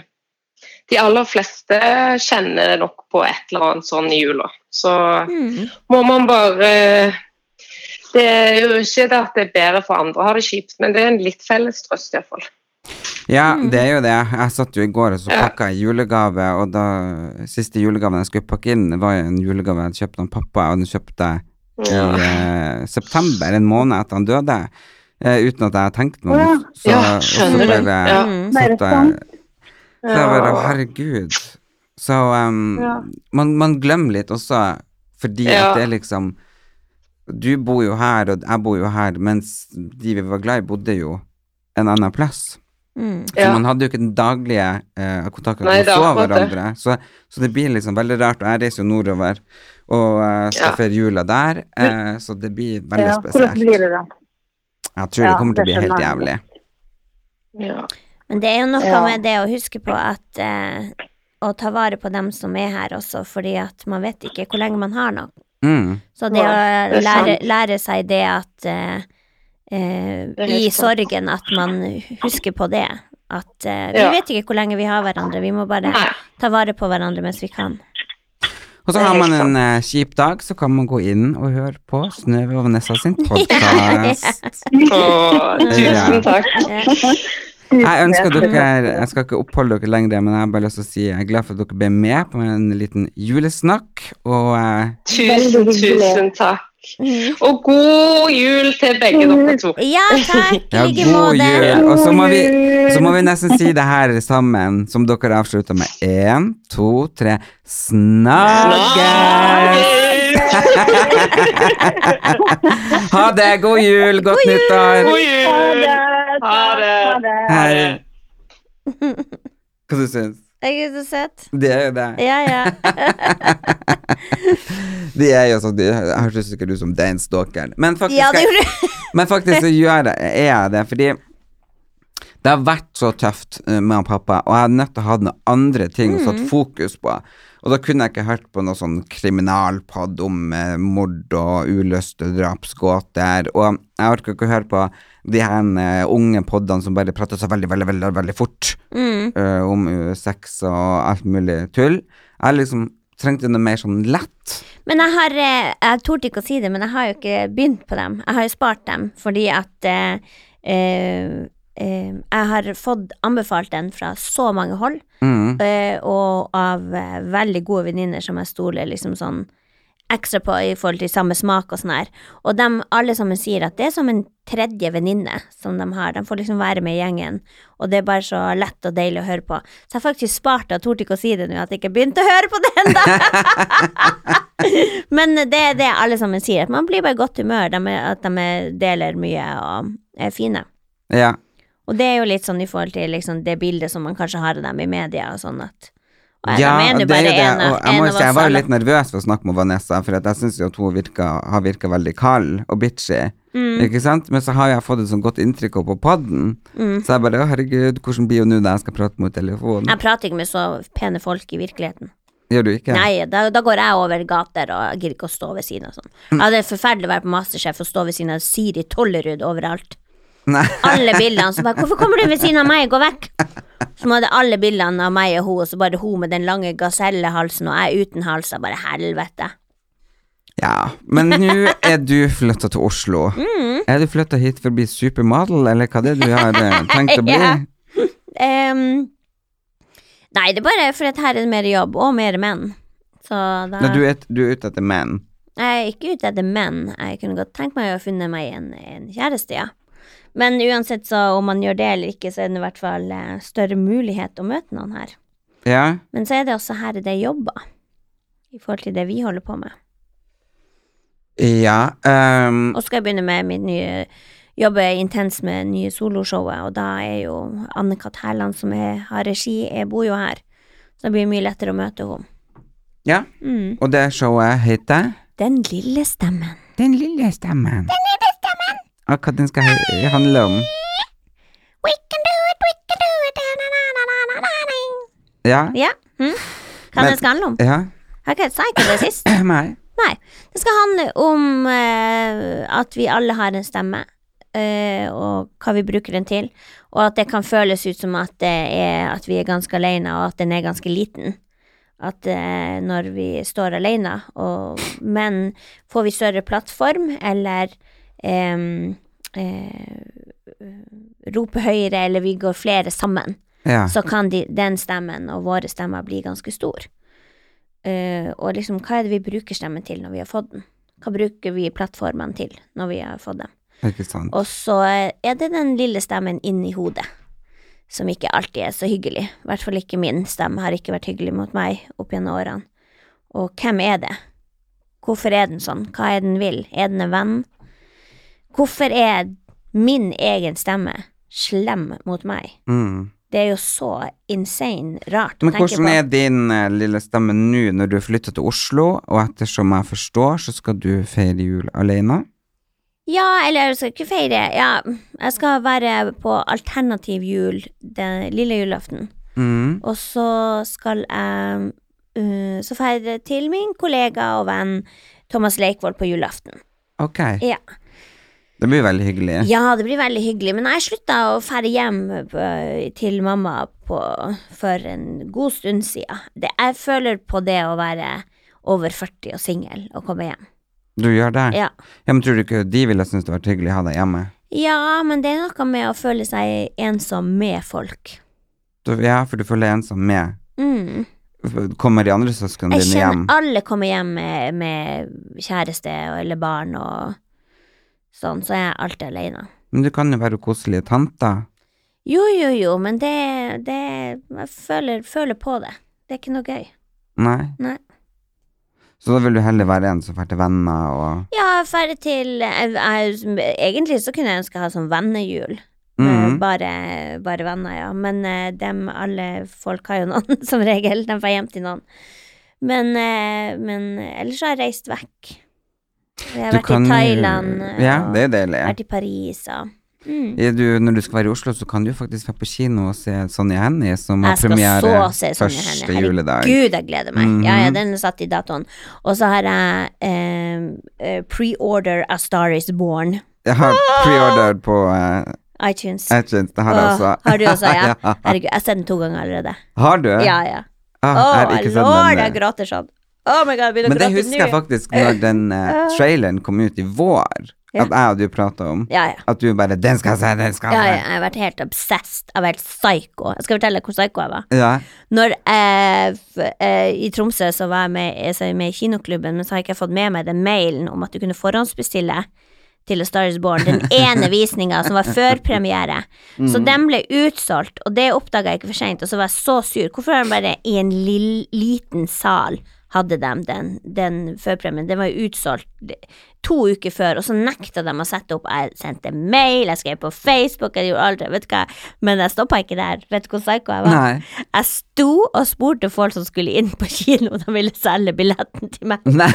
de aller fleste kjenner det nok på et eller annet sånn i jula. Så
Mm.
må man bare eh, Det er jo ikke det at det er bedre for andre å ha det kjipt, men det er en litt felles trøst iallfall.
Ja, det er jo det. Jeg satt jo i går og så
Mm. Ja.
pakka jeg julegave, og da siste julegaven jeg skulle pakke inn, var jo en julegave jeg hadde kjøpt av pappa, og den kjøpte jeg i eh, september, en måned etter han døde, eh, uten at jeg hadde tenkt meg om. Så-
Ja,
og så
skjønner
bare-
du. Ja.
Mm.
Nei,
satt
det er
jeg-
sant.
Så jeg bare
sånn.
å, herregud. Så um,
Ja.
man, man glemmer litt også, fordi
Ja.
at det er liksom Du bor jo her, og jeg bor jo her, mens de vi var glad i, bodde jo en annen plass.
Mm.
Så
Ja.
man hadde jo ikke den daglige eh, kontakten
Nei,
man
det er
så
akkurat det.
hverandre. Så, så det blir liksom veldig rart. Og jeg reiser jo nordover og eh, skal
Ja.
feire jula der, eh, så det blir veldig
Ja, Hvordan
spesielt.
blir det da?
Jeg tror det
Ja,
kommer til å
det
bli helt
skjønner
jævlig.
jeg.
Ja.
Men det er jo noe
Ja.
med det å huske på at eh, å ta vare på dem som er her også, fordi at man vet ikke hvor lenge man har noe.
Mm.
Så det
Nei,
å
det er
lære,
sant.
lære seg det at eh, eh,
er
I
helt sant.
sorgen at man husker på det. At eh, vi
Ja.
vet ikke hvor lenge vi har hverandre, vi må bare
Nei.
ta vare på hverandre mens vi kan.
Og så
Det er
har man
helt
en eh, kjip dag, så kan man gå inn og høre på Snøve og Vanessa sin podkast.
Å, tusen takk.
Jeg ønsker dere Jeg skal ikke oppholde dere lenger, men jeg har bare lyst til å si jeg er glad for at dere ble med på en liten julesnakk. Og eh,
Tusen, tusen takk. Og god jul til begge dere to.
Mm. Ja, takk! I
ja,
like
god
måte.
jul. Og så må, vi, så må vi nesten si det her sammen, som dere avslutta med. Én, to, tre. Snakkes! Ha det! God jul! Godt nyttår!
God jul! Ha det.
Ha det.
Hei. Hva du syns du?
Er ikke det søtt?
Det er jo det.
Ja, ja.
De er jo sånn, de hørtes ikke ut som den stalkeren. Men faktisk,
Ja, det
jeg,
gjorde du.
men faktisk så gjør jeg, er jeg det, fordi Det har vært så tøft eh, med han pappa, og jeg er nødt til å ha noen andre ting å satt fokus på. Og da kunne jeg ikke hørt på noe sånn kriminalpod om eh, mord og uløste drapsgåter, og jeg orker ikke å høre på de her eh, unge poddene som bare prater så veldig, veldig, veldig, veldig fort
Mm.
eh, om eh, sex og alt mulig tull. Jeg liksom trengte noe mer sånn lett.
Men jeg har eh, Jeg torde ikke å si det, men jeg har jo ikke begynt på dem. Jeg har jo spart dem fordi at eh, eh, eh, Jeg har fått anbefalt den fra så mange hold,
Mm.
eh, og av eh, veldig gode venninner som jeg stoler liksom sånn ekstra på i forhold til samme smak og sånn her. Og dem alle sammen sier at det er som en tredje venninne som de har. De får liksom være med i gjengen, og det er bare så lett og deilig å høre på. Så jeg har faktisk spart det, og torde ikke å si det nå, at jeg ikke begynte å høre på det ennå. Men det er det alle sammen sier, at man blir bare i godt humør, de er, at de er- deler mye og er fine.
Ja.
Og det er jo litt sånn i forhold til liksom, det bildet som man kanskje har av dem i media og sånn at og
Ja,
de er
det
jo
er
bare
jo det.
en av-
Og jeg, må
en
jo
av
si, jeg
oss
var jo
alle.
litt nervøs for å snakke med Vanessa, for at jeg syns jo at hun virka, har virka veldig kald og bitchy.
Mm.
Ikke sant? Men så har jeg fått et sånt godt inntrykk opp på podden.
Mm.
Så jeg bare Å, herregud, hvordan blir hun nå når jeg skal prate mot telefonen?
Jeg prater ikke med så pene folk i virkeligheten.
Gjør du ikke?
Nei, da, da går jeg over gater og jeg gidder ikke å stå ved siden av sånn. Ja, det er forferdelig å være på Masterchef og stå ved siden av Siri Tollerud overalt.
Nei.
alle bildene som bare 'Hvorfor kommer du ved siden av meg? Gå vekk!' Så hadde alle bildene av meg og hun, og så bare hun med den lange gasellehalsen, og jeg uten hals. Jeg bare helvete.
Ja. Men nå er du flytta til Oslo.
Mm.
Er du flytta hit for å bli supermodel, eller hva det er du har eh, tenkt å bli?
Ja. Ehm, nei, det er bare fordi at her er det mer jobb, og mer menn. Så da
Nei, du, er, du er ute etter menn.
Jeg er ikke ute etter menn. Jeg kunne godt tenkt meg å finne meg en, en kjæreste, ja. Men uansett så om man gjør det eller ikke, så er det i hvert fall eh, større mulighet å møte noen her.
Ja.
Men så er det også her det er jobber, i forhold til det vi holder på med.
Ja. ehm,
Mm. Og så skal jeg begynne med mitt nye Jobbe intens med nye soloshowet, og da er jo Anne-Kat. Hærland, som er, har regi, jeg bor jo her. Så det blir mye lettere å møte henne.
ja.
Mm.
Og det showet heter?
Den lille stemmen.
Den lille stemmen. Den lille stemmen. Og hva den skal he- handle om.
We can do it, we can do it, da-na-na-na-na-na-na.
Ja?
Ja. Mm. Hva
Men-
det skal handle om?
Ja?
Jeg sa ikke det sist.
Nei.
Nei. Det skal handle om eh, at vi alle har en stemme, eh, og hva vi bruker den til. Og at det kan føles ut som at, det er, at vi er ganske alene, og at den er ganske liten. At eh, når vi står alene, og, men får vi større plattform, eller em, eh, roper høyere, eller vi går flere sammen
Ja.
så kan de, den stemmen og våre stemmer bli ganske stor. Eh, og liksom, hva er det vi bruker stemmen til når vi har fått den? Hva bruker vi plattformene til når vi har fått dem?
Ikke sant.
Og så er det den lille stemmen inni hodet, som ikke alltid er så hyggelig. I hvert fall ikke min stemme har ikke vært hyggelig mot meg opp gjennom årene. Og hvem er det? Hvorfor er den sånn? Hva er den vil? Er den en venn? Hvorfor er min egen stemme slem mot meg?
Mm.
Det er jo så insane rart å
Men
tenke
hvordan
på.
er din eh, lille stemme nå når du har flytta til Oslo, og ettersom jeg forstår, så skal du feire jul alene?
Ja, eller jeg skal ikke feire. Ja, jeg skal være på alternativ jul den lille julaften.
Mm.
Og så skal jeg eh, så feire til min kollega og venn Thomas Leikvoll på julaften.
Ok.
Ja.
Det blir veldig hyggelig.
ja, det blir veldig hyggelig. Men jeg slutta å ferde hjem eh, til mamma på, for en god stund sida. Det- Jeg føler på det å være over 40 og singel og komme hjem.
Du gjør det?
Ja.
men tror du ikke de ville synes det var hyggelig å ha deg hjemme?
Ja, men det er noe med å føle seg ensom med folk.
Du, ja, for du føler deg ensom med.
Mm.
Kommer de andre søsknene
Jeg
dine hjem?
kjenner alle kommer hjem med, med kjæreste og- eller barn og sånn, så jeg er alltid alene.
Men du kan jo være koselige tanter.
Jo, jo, jo, men det, det Jeg føler, føler på det. Det er ikke noe gøy.
Nei.
Nei.
Så da vil du heller være en som drar til venner og
Ja, ferdig til jeg, jeg, Egentlig så kunne jeg ønske å ha sånn vennejul.
Mhm.
Med Bare, bare venner, ja. Men eh, dem alle folk har jo noen, som regel. De får hjem til noen. Men, eh, men ellers har jeg reist vekk. Jeg har
Du
vært
kan
i
jo-
Thailand. eh,
Ja,
og
det er deilig.
Vært i Paris og Mm.
Ja, Du, når du skal være i Oslo, så kan du jo faktisk være på kino og se Sonja Hennie, som har
Jeg skal
premiere
så se Sonja
første
Hennie.
juledag.
Herregud, jeg gleder meg. Ja, ja,
Mhm.
den er satt i datoen. Og så har jeg eh, eh, pre-order A Star Is Born.
Jeg har preordered på eh,
iTunes.
iTunes, det har jeg
Åh,
også.
har du også, ja? Herregud, jeg har sett den to ganger allerede.
Har du?
Ja, ja.
Ah,
Å,
jeg har ikke sett
lord,
den,
jeg
eh.
gråter sånn. Oh my god, jeg begynner
Men
å
det
gråte
husker jeg
nå.
faktisk når den eh, traileren kom ut i vår,
Ja.
at jeg og du prata om.
Ja, ja.
At du bare 'Den skal jeg se, den skal
Ja, ja,
jeg
jeg har vært helt obsessed. Jeg har vært psycho. Jeg skal fortelle hvor psycho jeg var.
se'. Ja.
Når jeg, f- eh, I Tromsø så var jeg med, så er jeg med i kinoklubben, men så har jeg ikke fått med meg den mailen om at du kunne forhåndsbestille til A Star Is Born, den ene visninga som var før premiere. Så den ble utsolgt, og det oppdaga jeg ikke for seint, og så var jeg så sur. Hvorfor har de bare i en lill, liten sal hadde de den, den førpremien? Den var jo utsolgt to uker før, og så nekta de å sette opp. Jeg sendte mail, jeg skrev på Facebook, jeg gjorde alt, vet du hva, men jeg stoppa ikke der. Vet du hvor psycho jeg var?
Nei.
Jeg sto og spurte folk som skulle inn på kino, de ville selge billetten til meg.
Nei.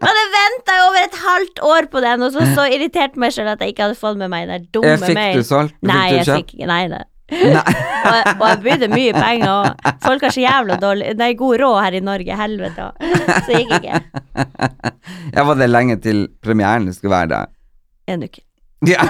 Men jeg venta over et halvt år på den, og så så irritert meg sjøl at jeg ikke hadde fått med meg den der dumme
Eh, Fikk du
mailen.
solgt? Fikk
Nei,
du
jeg
kjøpt?
fikk ikke. Nei, nei. og, og jeg brydde mye penger, og folk har så jævla dårlig Nei, god råd her i Norge, helvete. Så det gikk ikke.
Ja, var det lenge til premieren det skulle være da?
En uke.
Ja.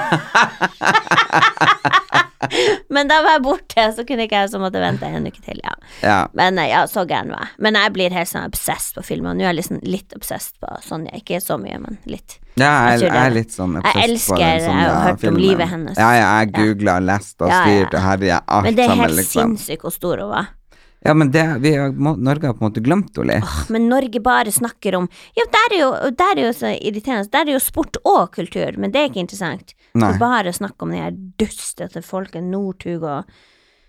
Men da var jeg borte, så kunne ikke jeg så måtte vente en uke til, ja.
ja.
Men eh, ja, så gæren var jeg. Men jeg blir helt sånn obsessed på filmer. Nå er jeg liksom litt obsessed på Sonja. Ikke så mye, men litt.
Ja, jeg,
Jeg tror
jeg,
det.
er litt sånn
Jeg elsker- jeg har
Sonja
hørt om
filmen.
livet hennes.
Ja, ja, jeg googla, leste og
Ja, ja, ja.
styrte og herja alt
Men det er
sammen,
helt
liksom.
sinnssykt hvor stor hun var.
Ja, men det, vi har, må- Norge har på en måte glemt henne litt.
Åh, Men Norge bare snakker om Ja, der er jo, der er jo så irriterende. Der er jo sport og kultur, men det er ikke interessant.
Nei.
Du bare snakker om de her dustete folket. Northug og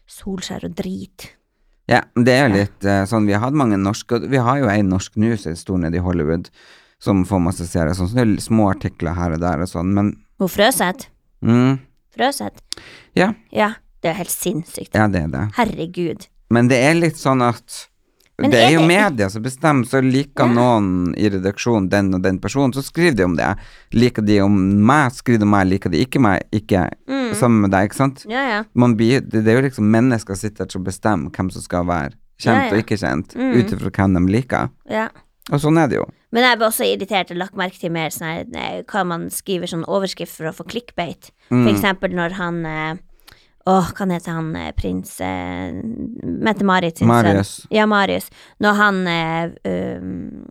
Solskjær og drit.
Ja, men det er jo litt eh, sånn Vi har hatt mange norske og Vi har jo ei norsk nå som er stor nede i Hollywood, som får masse seere. Sånn, så det er små artikler her og der og sånn, men
Hun Frøseth.
mm,
Frøseth.
Ja.
Ja. Det er jo helt sinnssykt.
ja, det er det.
Herregud.
Men det er litt sånn at
Men
det
er
er jo
det-
media som bestemmer, så liker noen i redaksjonen den og den personen, så skriver de om det. Liker de om meg, skriver de om meg, liker de ikke meg, ikke
Mm.
sammen med deg, ikke sant?
Ja, ja.
Man blir, det, det er jo liksom mennesker sitter og bestemmer hvem som skal være kjent
Ja, ja.
og ikke kjent,
Mm.
ut ifra hvem de liker.
ja.
Og sånn er det jo.
Men jeg ble også irritert og lagt merke til mer sånn her, eh, hva man skriver sånn overskrift for å få clickbait. For
Mm.
eksempel når han eh, Åh, hva heter han eh, prins eh, Mette-Marit sin sønn.
Marius.
Ja, Marius. Når han eh, um,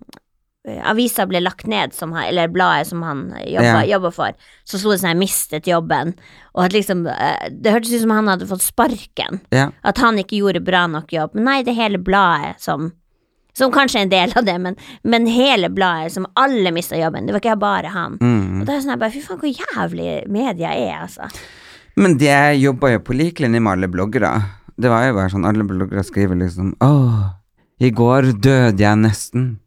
eh, Avisa ble lagt ned, som han, eller bladet som han jobba,
Ja.
jobba for, så sto det sånn her 'mistet jobben', og at liksom eh, Det hørtes ut som han hadde fått sparken.
Ja.
At han ikke gjorde bra nok jobb. Men nei, det hele bladet som Som kanskje er en del av det, men, men hele bladet som alle mista jobben. Det var ikke bare han. Og
Mm.
da er det sånn jeg bare Fy faen, hvor jævlig media er, altså.
Men det jobber jo på lik linje med alle bloggere. Det var jo bare sånn, alle bloggere skriver liksom Åh, i går døde jeg nesten.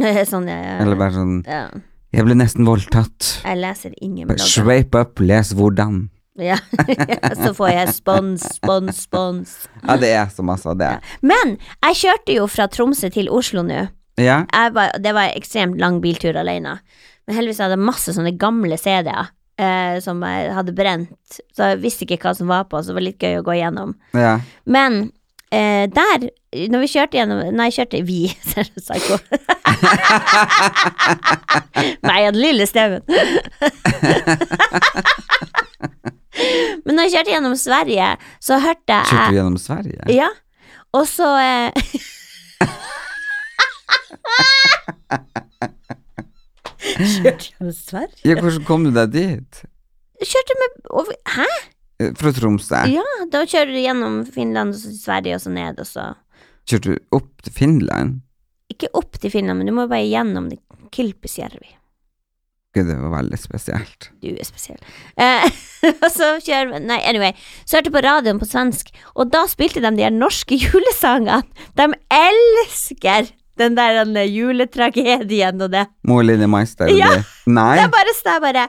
sånn, jeg,
Eller bare sånn
ja.
Jeg ble nesten voldtatt.
jeg leser ingen blogger.
Swipe up, les hvordan.
Ja. så får jeg spons, spons, spons.
Ja, det er så masse av det.
Men jeg kjørte jo fra Tromsø til Oslo nå.
Ja,
jeg var, det var en ekstremt lang biltur alene. Men heldigvis hadde jeg masse sånne gamle CD-er eh, som jeg hadde brent. Så jeg visste ikke hva som var på, så det var litt gøy å gå gjennom.
ja.
Men eh, der, når vi kjørte gjennom Nei, kjørte vi, ser du, psyko. Meg og den lille stemmen. Men når jeg kjørte gjennom Sverige, så hørte jeg
Kjørte du gjennom Sverige?
ja. Og så eh... Kjørte gjennom Sverige?
Ja, hvordan kom du deg dit?
Kjørte med over... Hæ?
Eh, Fra Tromsø?
Ja, da kjører du gjennom Finland og så til Sverige og så ned, og så
Kjørte du opp til Finland?
Ikke opp til Finland, men du må bare gjennom det- Kilpisjärvi.
Gud, det var veldig spesielt.
Du er spesiell. Eh, og så kjører vi Nei, anyway. Så hørte jeg på radioen på svensk, og da spilte de de her norske julesangene. De elsker Den der den juletragedien og det.
Mor Lille Mais der. og
Ja.
det. Nei.
Det er bare sånn bare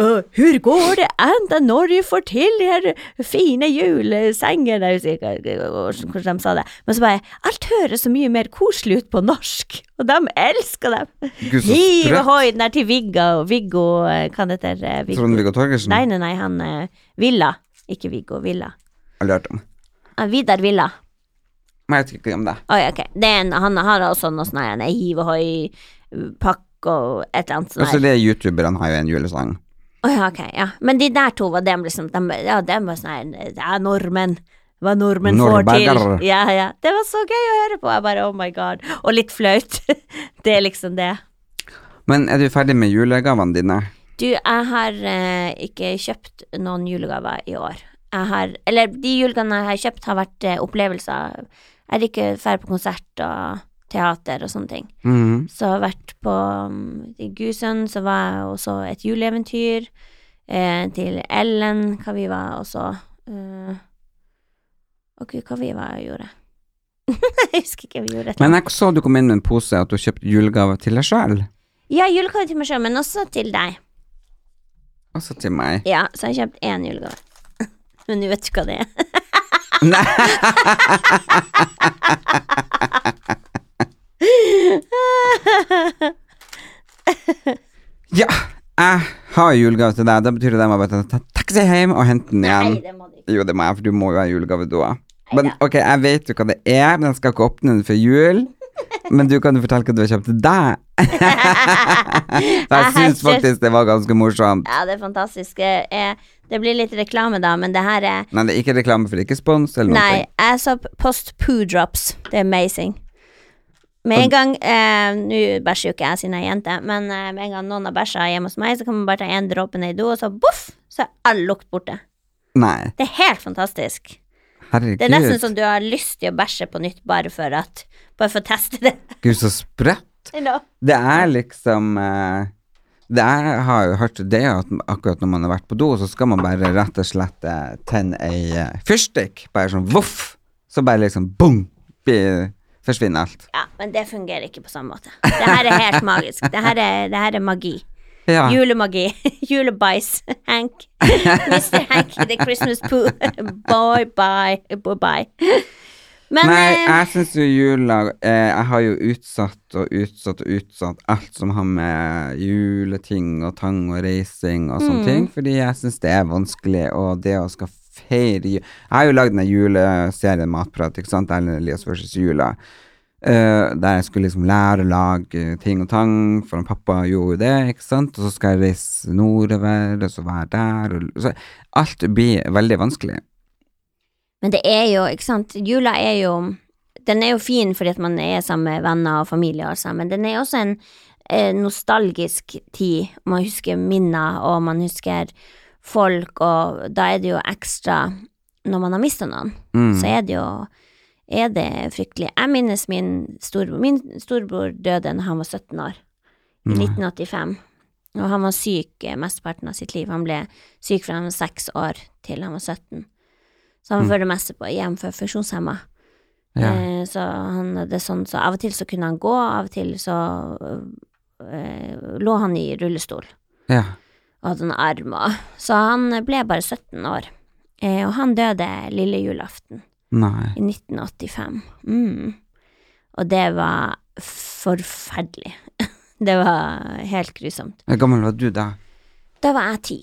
«Åh, Hvor går det an at Norge får til de her fine julesenger Nei, jeg husker ikke hvordan de sa det. Men så bare Alt høres så mye mer koselig ut på norsk, og de elsker dem.
Gud, så
Hiv
sprøtt.
ohoi, den der til Vigga og Viggo eh, Hva han heter eh, Viggo?
Trond-Viggo Torgersen
Nei, nei, nei, han eh, Villa. Ikke Viggo, Villa.
har du hørt om.
Ah, Vidar Villa.
Men jeg vet ikke om det.
Oi, ok. Det er en, han har også noe sånn her, en hiv ohoi-pakke og et eller annet sånt.
Også
her.
Altså, det youtuberne har jo en julesang.
Å ja, ok, ja. Men de der to var dem liksom de, Ja, dem var sånn her Ja, nordmenn. Hva nordmenn får
Nordberger.
til. Ja, ja. Det var så gøy å høre på. Jeg bare oh my god. Og litt flaut. det er liksom det.
Men er du ferdig med julegavene dine?
Du, jeg har eh, ikke kjøpt noen julegaver i år. Jeg har Eller de julegavene jeg har kjøpt, har vært eh, opplevelser. Jeg er ikke ferdig på konsert og teater og sånne ting.
Mhm.
Så jeg har vært på mm, I Gusund så var jeg også et juleeventyr. Eh, til Ellen, hva vi var også eh, Å gud, hva vi var og gjorde. jeg husker ikke, vi gjorde et eller
Men
annet.
jeg så du kom inn med en pose at du kjøpte julegave til deg sjøl.
Ja, julegave til meg sjøl, men også til deg.
Også til meg.
Ja, så jeg har kjøpt én julegave. men du vet jo hva det er.
Ja, jeg har julegave til deg. Da betyr det at jeg må bare ta taxi hjem og hente den igjen.
Nei, det må du ikke.
Jo, det må jeg, for du må jo ha julegave da. Men
Neida.
ok, jeg vet jo hva det er, men jeg skal ikke åpne den før jul. Men du kan jo fortelle hva du har kjøpt til deg. For jeg
Jeg har
syns faktisk det var ganske morsomt.
Ja, det er fantastisk. Eh, det blir litt reklame, da, men det her er
Nei, det er ikke reklame for det er ikke spons eller noe.
Nei, jeg så p- Post Poo Drops. Det er amazing. Med en gang eh, Nå bæsjer jo ikke jeg siden jeg er jente, men eh, med en gang noen har bæsja hjemme hos meg, så kan man bare ta én dråpe ned i do, og så boff, så er all lukt borte.
Nei,
Det er helt fantastisk.
herregud.
Det er nesten sånn- som du har lyst til å bæsje på nytt bare for at Bare for å teste det.
Gud, så sprøtt. Det er liksom eh, Det er, jeg har jo hørt det er jo at akkurat når man har vært på do, så skal man bare rett og slett eh, tenne ei eh, fyrstikk. Bare sånn voff! Så bare liksom bong! blir- Forsvinner alt.
Ja, men det fungerer ikke på samme måte. Det her er helt magisk. Det her er, det her er magi.
Ja.
Julemagi. Julebæsj. Hank. Mr. Hank i The Christmas Poo. Boy, bye. Boy, bye. Men
Nei,
eh,
jeg syns jo jula eh, Jeg har jo utsatt og utsatt og utsatt alt som har med juleting og tang og reising og
Mm.
sånne ting, fordi jeg syns det er vanskelig, og det å skal feire jul Jeg har jo lagd den juleserien Matprat, ikke sant, Erlend Elias versus jula. eh, der jeg skulle liksom lære å lage ting og tang, for han pappa gjorde jo det, ikke sant. Og så skal jeg reise nordover, og så være der, og så Alt blir veldig vanskelig.
Men det er jo, ikke sant, jula er jo Den er jo fin fordi at man er sammen med venner og familie, altså, men den er også en eh, nostalgisk tid. Man husker minner, og man husker folk, og da er det jo ekstra Når man har mista noen,
Mm.
så er det jo er det fryktelig. Jeg minnes min storbror. Min storbror døde da han var 17 år, i 1985. Og han var syk eh, mesteparten av sitt liv. Han ble syk fra han var seks år til han var 17. Så han var for det meste på hjem for funksjonshemma.
Ja.
Eh, så han hadde sånn, så av og til så kunne han gå, av og til så eh, lå han i rullestol
Ja.
og hadde en arm og Så han ble bare 17 år. Eh, og han døde lille julaften
Nei.
i 1985. Mm. Og det var forferdelig. det var helt grusomt.
Hvor gammel var du da?
Da var jeg ti.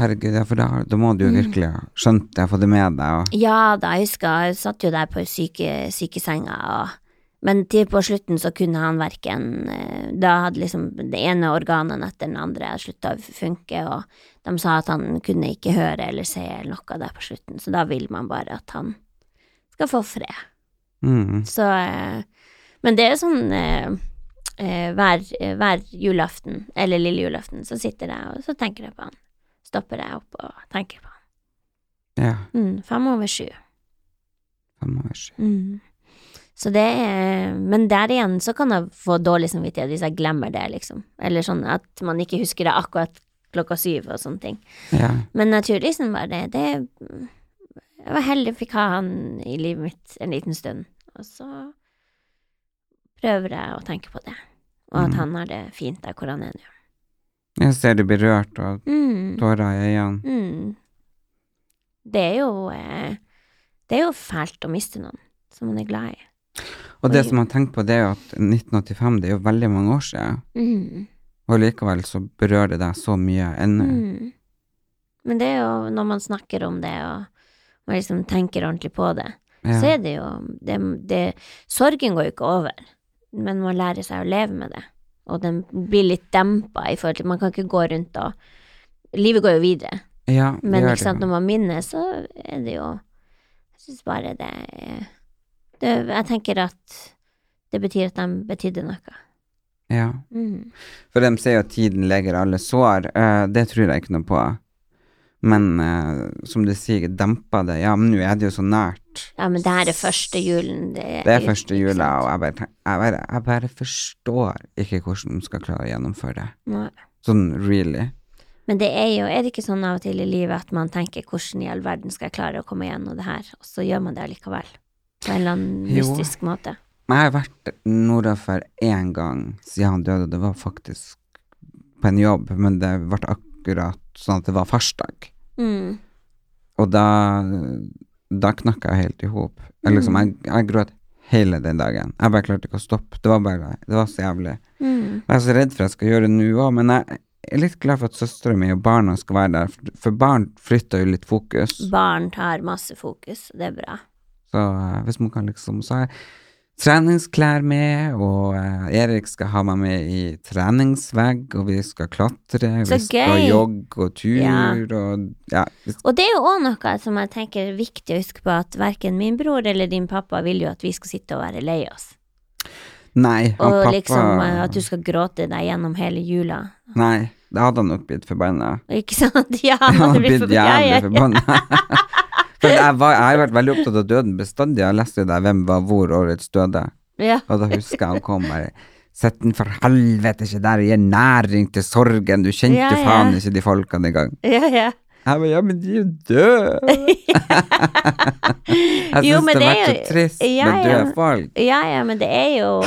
Herregud, ja, for da, da må
Mm.
du jo virkelig ha skjønt det, få det med deg. Og,
Ja da, jeg husker jeg satt jo der på syke, sykesenga, og, men til på slutten så kunne han verken eh, Da hadde liksom det ene organet etter den andre slutta å funke, og de sa at han kunne ikke høre eller se eller noe der på slutten, så da vil man bare at han skal få fred.
mm.
Så eh, Men det er sånn eh, eh, hver, eh, hver julaften, eller lille julaften, så sitter jeg og så tenker jeg på han. Stopper jeg opp og tenker på han.
Ja,
Mm, fem over sju.
fem år siden.
Mm. Så det er Men der igjen så kan jeg få dårlig samvittighet hvis jeg glemmer det, liksom. Eller sånn at man ikke husker det akkurat klokka syv og sånne ting.
Ja.
Men naturligvis var det det Jeg var heldig fikk ha han i livet mitt en liten stund. Og så prøver jeg å tenke på det, og at
Mm.
han har det fint der hvor han er nå.
Jeg ser du blir rørt og
Mm.
tårer i øynene.
Mm. Det er jo eh, Det er jo fælt å miste noen som man er glad i.
Og det som man tenker på, det er jo at 1985, det er jo veldig mange år siden,
Mm.
og likevel så berører det deg så mye ennå.
Mm. Men det er jo når man snakker om det, og man liksom tenker ordentlig på det, så
Ja.
er det jo det, det, Sorgen går jo ikke over, men man lærer seg å leve med det. Og den blir litt dempa i forhold til Man kan ikke gå rundt og Livet går jo videre,
Ja, det
men
gjør
ikke sant,
det.
når man minnes, så er det jo Jeg syns bare det er det, Jeg tenker at det betyr at de betydde noe.
Ja.
Mm.
For de sier jo at tiden leger alle sår. eh, det tror jeg ikke noe på. Men eh, som du sier, dempa det. Ja, men nå er det jo så nært.
Ja, men det her er første julen. Det er,
Det er første
Eh, ikke
jula,
sant?
og jeg bare, tenk- jeg, bare, jeg bare forstår ikke hvordan de skal klare å gjennomføre det.
Nei.
Sånn really.
Men det er jo, er det ikke sånn av og til i livet at man tenker hvordan i all verden skal jeg klare å komme gjennom det her, og så gjør man det allikevel. På en eller annen
Jo.
mystisk måte.
Men jeg har vært nordafor én gang siden han døde, og det var faktisk på en jobb, men det ble akkurat sånn at det var farsdag.
Mm.
Og da, da knakk jeg helt i hop. Jeg, liksom, jeg,
Mm.
jeg gråt hele den dagen. Jeg bare klarte ikke å stoppe. Det var bare, det var så jævlig.
Mm.
Jeg er så redd for jeg skal gjøre det nå òg, men jeg er litt glad for at søstera mi og barna skal være der, for- for barn flytter jo litt fokus.
Barn tar masse fokus, og det er bra.
Så eh, hvis man kan liksom Så har jeg treningsklær med, og eh, Erik skal ha meg med i treningsvegg, og vi skal klatre,
Så
vi skal
gøy.
jogge og tur,
Ja.
og ja, vi
Og det er jo òg noe som jeg tenker er viktig å huske på, at verken min bror eller din pappa vil jo at vi skal sitte og være lei oss.
Nei, han
Og
pappa
liksom eh, at du skal gråte deg gjennom hele jula.
Nei, da hadde han nok blitt forbanna.
Ikke sant? Ja,
Han
det
hadde
blir
blitt
for- ja, ja, ja.
jævlig forbanna. For jeg, var, jeg har vært veldig opptatt av døden bestandig. Jeg leste jo der hvem var hvor årets døde,
Ja.
og da husker jeg han kom bare Sett den for helvete ikke der og gi næring til sorgen, du kjente
Ja,
jo faen
ja.
ikke de folkene engang.
Ja, ja.
Jeg bare, ja, men de er jo døde! jeg
Jo,
syns
men
det har
det
vært
er
så
jo-
trist
ja,
med
ja.
døde folk.
Ja, ja, men det er jo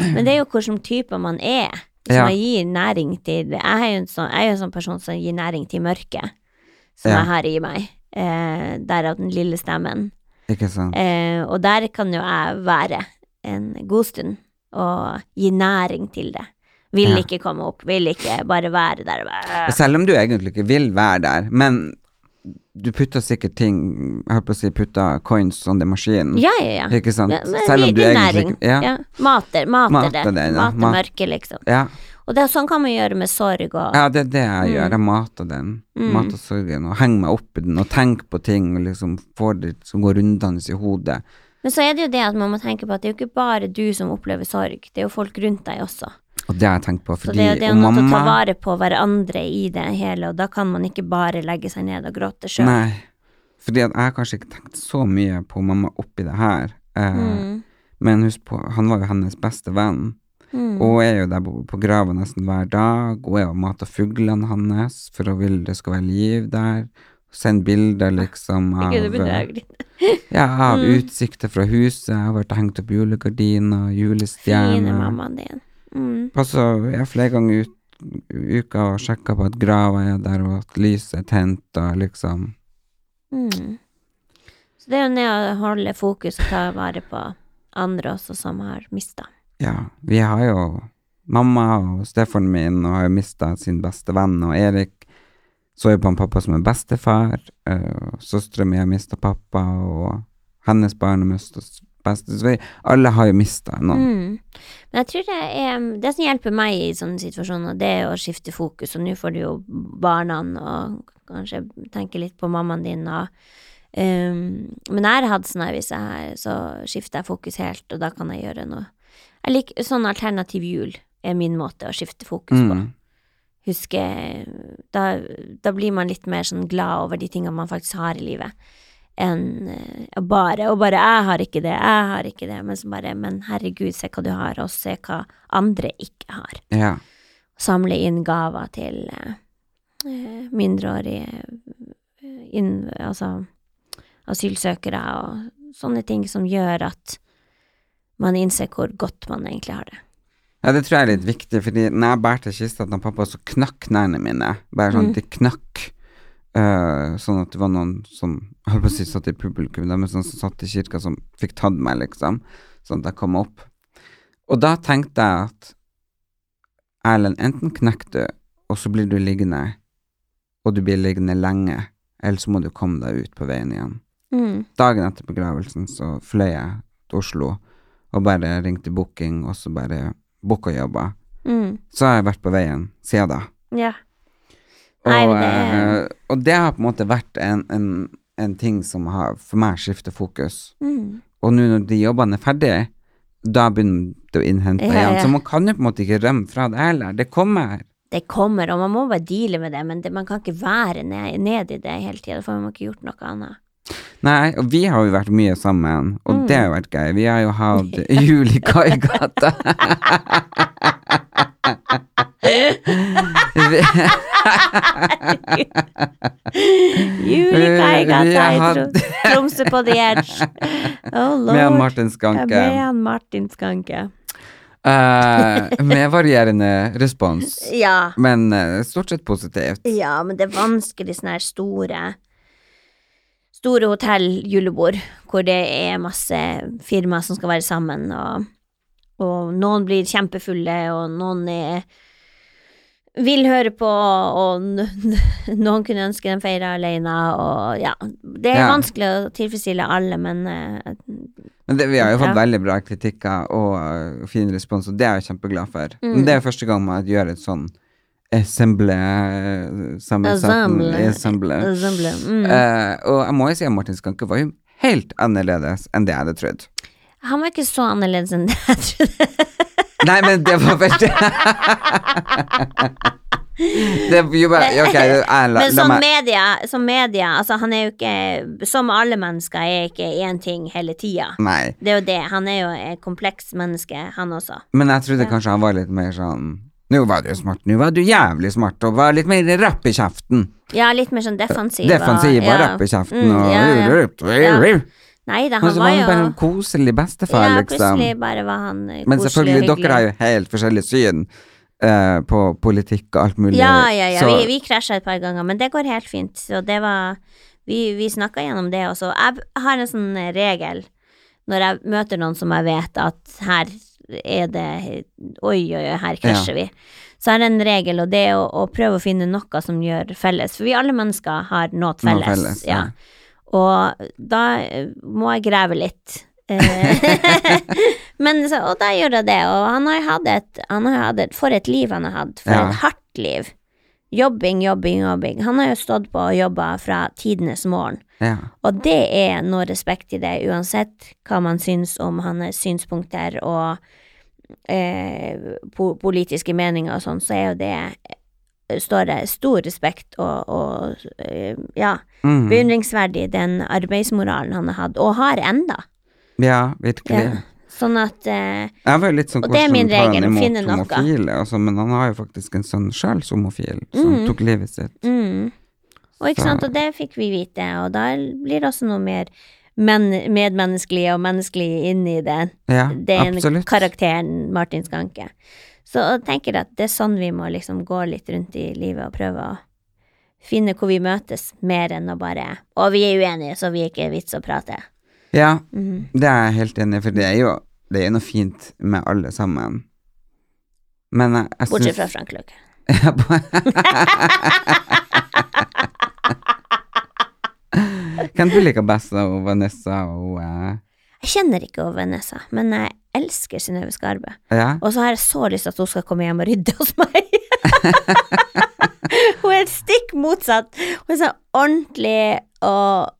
Men det er jo hvilken type man er. Hvis
Ja.
man gir næring til Jeg er jo en sånn, jeg er jo en sånn person som gir næring til mørket, som
Ja.
jeg har i meg. Eh, Derav den lille stemmen.
Ikke sant?
Eh, og der kan jo jeg være en god stund og gi næring til det. Vil
Ja.
ikke komme opp, vil ikke bare være der. og Bare,
Og Selv om du egentlig ikke vil være der, men du putter sikkert ting Jeg holdt på å si putter coins under maskinen.
ja, ja, ja.
Ikke sant?
Ja, men
Selv om
gi-
du
gi
egentlig
næring.
ikke ja.
Ja. Mater, mater,
Mater
det.
det, ja.
Mater
Mat-
mørket, liksom.
Ja.
Og det, er sånn kan man gjøre med sorg og
ja, det er det jeg gjør. Jeg mater den.
Mm.
Mater sorgen og henger meg opp i den og tenker på ting og liksom får det som går rundende i hodet.
Men så er det jo det at man må tenke på at det er jo ikke bare du som opplever sorg, det er jo folk rundt deg også.
Og det har jeg tenkt på,
Så
fordi
det er jo det er
og
jo noe å ta
mamma
vare på hverandre i det hele, og da kan man ikke bare legge seg ned og gråte sjøl.
Nei. Fordi at jeg har kanskje ikke tenkt så mye på mamma oppi det her. Eh,
Mm,
Men husk på, han var jo hennes beste venn.
mm,
Og er jo der på, på grava nesten hver dag, og er og mater fuglene hans for hun vil det skal være liv der. Send bilder, liksom, av
Gud, det begynner jeg å Mm. grine.
Ja, av utsikter fra huset. Jeg har vært og hengt opp julegardiner,
Fine
julestjerner.
mammaen din. Mm.
Passa jeg er flere ganger ut i uka og sjekka på at grava er der, og at lyset er tent, og liksom
Mm. Så det er jo ned å holde fokus og ta vare på andre også som har mista.
Ja, vi har jo Mamma og stefaren min og har jo mista sin beste venn, og Erik så jo på han pappa som en bestefar. eh, Søstera mi har mista pappa, og hennes barn har mista beste... Så vi, alle har jo mista noen.
Mm. Men jeg tror det er Det som hjelper meg i sånne situasjoner, det er å skifte fokus, og nå får du jo barna og kanskje tenke litt på mammaen din og um, Men jeg har hatt sånn her, hvis jeg har, så skifter jeg fokus helt, og da kan jeg gjøre noe. Jeg liker sånn alternativ jul er min måte å skifte fokus på.
Mm.
Huske da, da blir man litt mer sånn glad over de tingene man faktisk har i livet. Enn eh, å bare Og bare 'jeg har ikke det, jeg har ikke det', men så bare 'men herregud, se hva du har', og se hva andre ikke har.
Ja.
Samle inn gaver til eh, eh, mindreårige eh, inn, altså asylsøkere og sånne ting som gjør at man innser hvor godt man egentlig har det.
Ja, det tror jeg er litt viktig, fordi når jeg bærte kista til pappa, så knakk knærne mine. Bare sånn, de knakk. Eh, sånn at det var noen som holdt på å si satt i publikum, da, men sånn som satt i kirka, som fikk tatt meg, liksom. Sånn at jeg kom opp. Og da tenkte jeg at Erlend, enten knekker du, og så blir du liggende, og du blir liggende lenge, eller så må du komme deg ut på veien igjen.
Mm.
Dagen etter begravelsen så fløy jeg til Oslo og bare ringte booking, og så bare booka jobber.
Mm.
Så har jeg vært på veien siden da.
Ja.
Og,
Nei, men
eh,
det-
og det har på en måte vært en, en, en ting som har for meg skiftet fokus.
Mm.
Og nå når de jobbene er ferdige, da begynner det å innhente
Ja,
deg igjen.
ja.
Så man kan jo på en måte ikke rømme fra det heller. Det kommer.
Det kommer, og man må bare deale med det, men det, man kan ikke være ned, ned i det hele tida, for man har ikke gjort noe annet.
Nei, og vi har jo vært mye sammen,
Mm.
og det har jo vært gøy. Vi har jo hatt jul i Kaigata.
Julekaiga,
Eh, Vi- vi har
Teitro, Tromsø på the edge. Oh lord.
Med Martin Skanke.
Ja, Med han Martin Skanke.
Eh, med varierende respons.
Ja.
Men eh, stort sett positivt.
Ja, men det er vanskelig sånne her store Store hotelljulebord hvor det er masse firmaer som skal være sammen, og, og noen blir kjempefulle, og noen er, vil høre på, og n- noen kunne ønske de feira alene, og ja Det er
Ja.
vanskelig å tilfredsstille alle, men eh,
Men det, vi har jo fått
Ja.
veldig bra kritikker og eh, fin respons, og det er jeg kjempeglad for.
Mm.
Men det er første gang man gjør et sånn assemble
Ensemble.
Assemble. assemble.
Ensemble, mm.
Eh, og jeg må jo si at Martin Skanke var jo helt annerledes enn det jeg hadde trodd.
han var ikke så annerledes enn det jeg trodde.
Nei, men det var veldig Det er jo bare Ok, jeg, la,
Men sånn
la
som
meg
media, som media altså han er jo ikke Som alle mennesker er ikke én ting hele tida.
Nei.
Det er jo det. Han er jo et komplekst menneske, han også.
Men jeg trodde kanskje han var litt mer sånn Nå var du smart, nå var du jævlig smart, og var litt mer rapp i kjeften.
Ja, litt mer sånn defensiv. Mm,
Defensiv og rapp i kjeften, og
Ja. Nei da,
Men
han
så var
var
han
jo
bare en koselig bestefar,
Ja,
liksom.
plutselig bare var han eh,
Men
koselig og
selvfølgelig,
hyggelig.
dere har jo helt forskjellig syn eh, på politikk og alt mulig.
Ja, ja, ja.
Så,
Vi, vi krasja et par ganger, men det går helt fint. Så det var Vi, vi snakka gjennom det også. Jeg b- har en sånn regel når jeg møter noen som jeg vet at her er det Oi, oi, oi, her krasjer vi. Så jeg har en regel, og det er å, å prøve å finne noe som gjør felles. For vi alle mennesker har noe felles.
felles, ja.
ja. Og da eh, må jeg grave litt. Eh, Men så, og da gjør jeg det, og han har hatt et, han har hatt et For et liv han har hatt. For
Ja.
et hardt liv. Jobbing, jobbing, jobbing. Han har jo stått på og jobba fra tidenes morgen.
ja.
Og det er noe respekt i det, uansett hva man syns om hans synspunkter og eh, po politiske meninger og sånn, så er jo det eh, står det stor respekt og, og eh, ja,
Mm.
beundringsverdig den arbeidsmoralen han har hatt, og har enda.
ja, virkelig.
Ja. Sånn at eh,
Jeg var jo litt sånn
Og det er
hvordan
min
tar han
regel, å
imot
finne noe.
homofile, altså, men han har jo faktisk en sønn sjøl som homofil, som
Mm.
tok livet sitt.
mm. Og ikke
Så-
sant, og det fikk vi vite, og da blir det også noe mer men medmenneskelig og menneskelig inni det.
Ja,
den
absolutt.
karakteren Martin Skanke. Så jeg tenker at det er sånn vi må liksom gå litt rundt i livet og prøve å finne hvor vi møtes, mer enn å bare Og vi er uenige, så vi er ikke vits å prate.
Ja,
Mhm.
det er jeg helt enig i, for det er jo det er noe fint med alle sammen. Men jeg, jeg
Bortsett
syns-
fra Frank Løke.
Ja, på- Hvem du liker best av Vanessa og eh,
Jeg kjenner ikke over Vanessa, men jeg elsker Synnøve Skarbø.
Ja?
Og så har jeg så lyst til at hun skal komme hjem og rydde hos meg. hun er stikk motsatt. Hun er så ordentlig og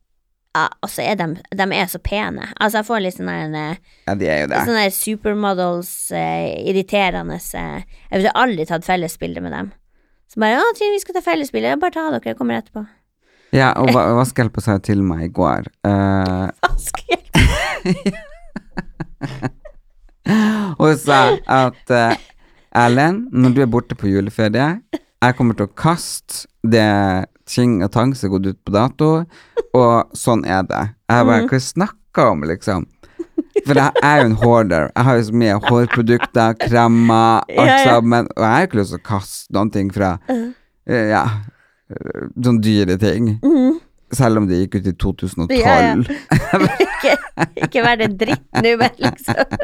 ja, Og så er de, de er så pene. Altså, jeg får litt sånn her eh,
ja, de er jo det.
Sånne der supermodels, eh, irriterende eh, Jeg ville aldri tatt fellesbilde med dem. Så bare 'Å, Trine, vi skal ta fellesbilde.' Ja, Bare ta dere, jeg kommer etterpå.
Ja, og Va- Vaskehjelpa sa jo til meg i går eh,
Vaskehjelp.
Hun sa at eh, Erlend, når du er borte på juleferie, jeg kommer til å kaste det ting og tang som er gått ut på dato, og sånn er det. Jeg bare Hva snakker du om, liksom? For jeg er jo en hoarder. Jeg har jo så mye hårprodukter, kremmer,
Ja,
alt
ja.
sammen. Og jeg har jo ikke lyst til å kaste noen ting fra eh, Ja, eh, sånne dyre ting.
Mm.
Selv om det gikk ut i 2012.
Ja, ja. ikke, ikke vær det dritt nå, men liksom.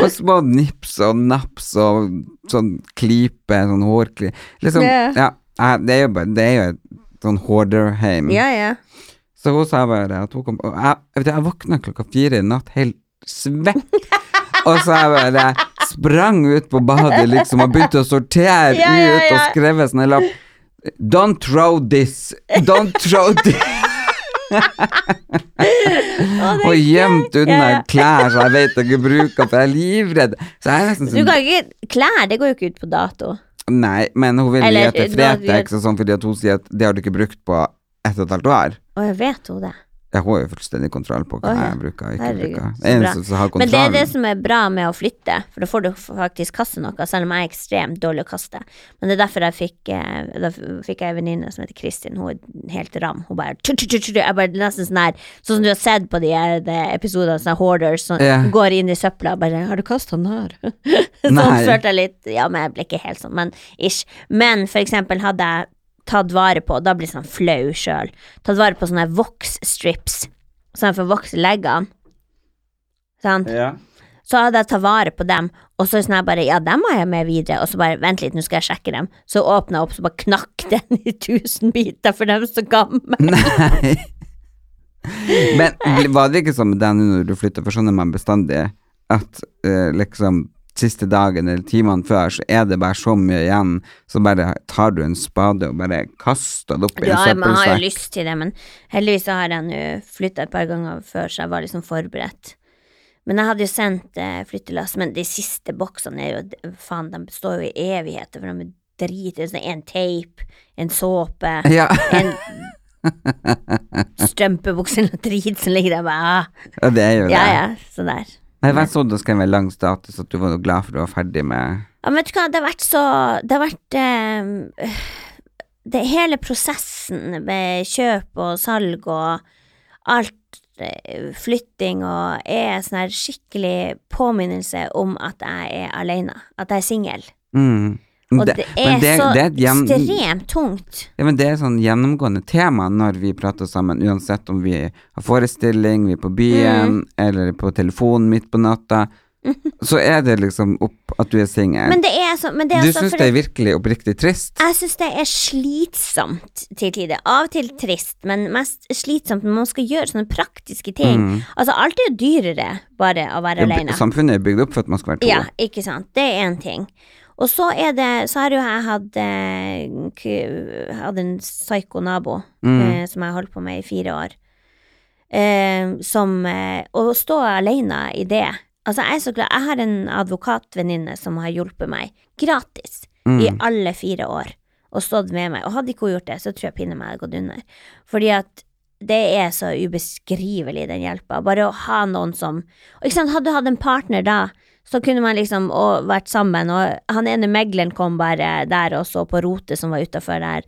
Og små nips og naps og sånn klype, sånn hårklype Liksom,
Ja.
ja. eh, Det er jo bare Det er jo et sånn hoarderheim.
Ja, ja.
Så hun sa bare at hun kom og jeg, jeg, vet, du, jeg våkna klokka fire i natt helt svett. og så jeg bare sprang ut på badet liksom og begynte å sortere
Ja, ja,
ut og
ja.
skrev en sånn lapp. Don't throw this. Don't throw this.
Å, det-
Og gjemt unna
Ja, ja.
klær som jeg vet jeg ikke bruker, for jeg er livredd. Så jeg er nesten
Du
sånn
kan ikke Klær, det går jo ikke ut på dato.
Nei, men hun ville
Eller,
gi til
du har-
Fretex og sånn fordi at hun sier at det har du ikke brukt på ett og et halvt år.
Å, jeg vet hun det.
Jeg har jo fullstendig kontroll på hva
Å, ja.
jeg bruker og ikke
Herregud,
bruker.
så
Det eneste
bra.
som har
Men det er
kontroll
det som er bra med å flytte, for da får du faktisk kaste noe, selv om jeg er ekstremt dårlig å kaste. Men det er derfor jeg fikk eh, Da fikk jeg en venninne som heter Kristin, hun er helt ram. Hun bare tju, tju, tju, tju, Jeg bare nesten sånn her Sånn som du har sett på de, her, de episodene, sånne hoarders som
Ja.
går inn i søpla og bare 'Har du kasta den her?' sånn
Nei.
følte jeg litt Ja, men jeg ble ikke helt sånn, men ish. Men for eksempel hadde jeg tatt vare på, da blir jeg sånn flau sjøl, tatt vare på sånne voksstrips, sånn for å vokse leggene. Sant?
Ja.
Så hadde jeg tatt vare på dem, og så sånn jeg bare Ja, dem har jeg med videre, og så bare Vent litt, nå skal jeg sjekke dem. Så åpna jeg opp, så bare knakk den i tusen biter, for dem så gammel.
Nei. Men bl- var det ikke sånn med deg nå når du flytta, for sånn er man bestandig, at eh, liksom siste dagen eller timene før, så er det bare så mye igjen, så bare tar du en spade og bare kaster det opp i
Ja,
en
man har jo
søppelsekk.
lyst til det, men heldigvis så har jeg nå flytta et par ganger før, så jeg var liksom forberedt. Men jeg hadde jo sendt eh, flyttelass, men de siste boksene er jo Faen, de består jo i evigheter, for de er drit... Sånn, en teip, en såpe
Ja,
En strømpebukse eller noe drit som ligger der bare ah.
ja, det er jo det.
Ja, ja, så der.
Nei, jeg så du skrev en lang status at du var glad for du var ferdig med
Ja, men vet du hva, det har vært så Det har vært eh, det, Hele prosessen med kjøp og salg og alt eh, flytting og er sånn her skikkelig påminnelse om at jeg er alene. At jeg er singel.
mm. Men
Og det, er
men det-
så
det er et gjen-
ekstremt tungt.
Ja, men Det er sånn gjennomgående tema når vi prater sammen, uansett om vi har forestilling, vi er på
Mm.
byen, eller på telefonen midt på natta. Så er det liksom opp at du er singel.
Men det er så men det er
Du
altså
syns
for-
det er virkelig oppriktig trist?
Jeg syns det er slitsomt til tider. Av og til trist, men mest slitsomt når man skal gjøre sånne praktiske ting. Altså, alt er jo dyrere bare å være alene.
Samfunnet er bygd opp for at man skal være to.
Ja, ikke sant. Det er én ting. Og så er det Så har jo jeg hatt eh, k- Hadde en psyko nabo eh, som jeg holdt på med i fire år. Eh, som eh, Å stå alene i det Altså, jeg er så glad Jeg har en advokatvenninne som har hjulpet meg gratis i alle fire år og stått med meg. Og hadde ikke hun gjort det, så tror jeg pinne meg hadde gått under. Fordi at det er så ubeskrivelig, den hjelpa. Bare å ha noen som og ikke sant, Hadde du hatt en partner da, så kunne man liksom og vært sammen, og han ene megleren kom bare der og så på rotet som var utafor der.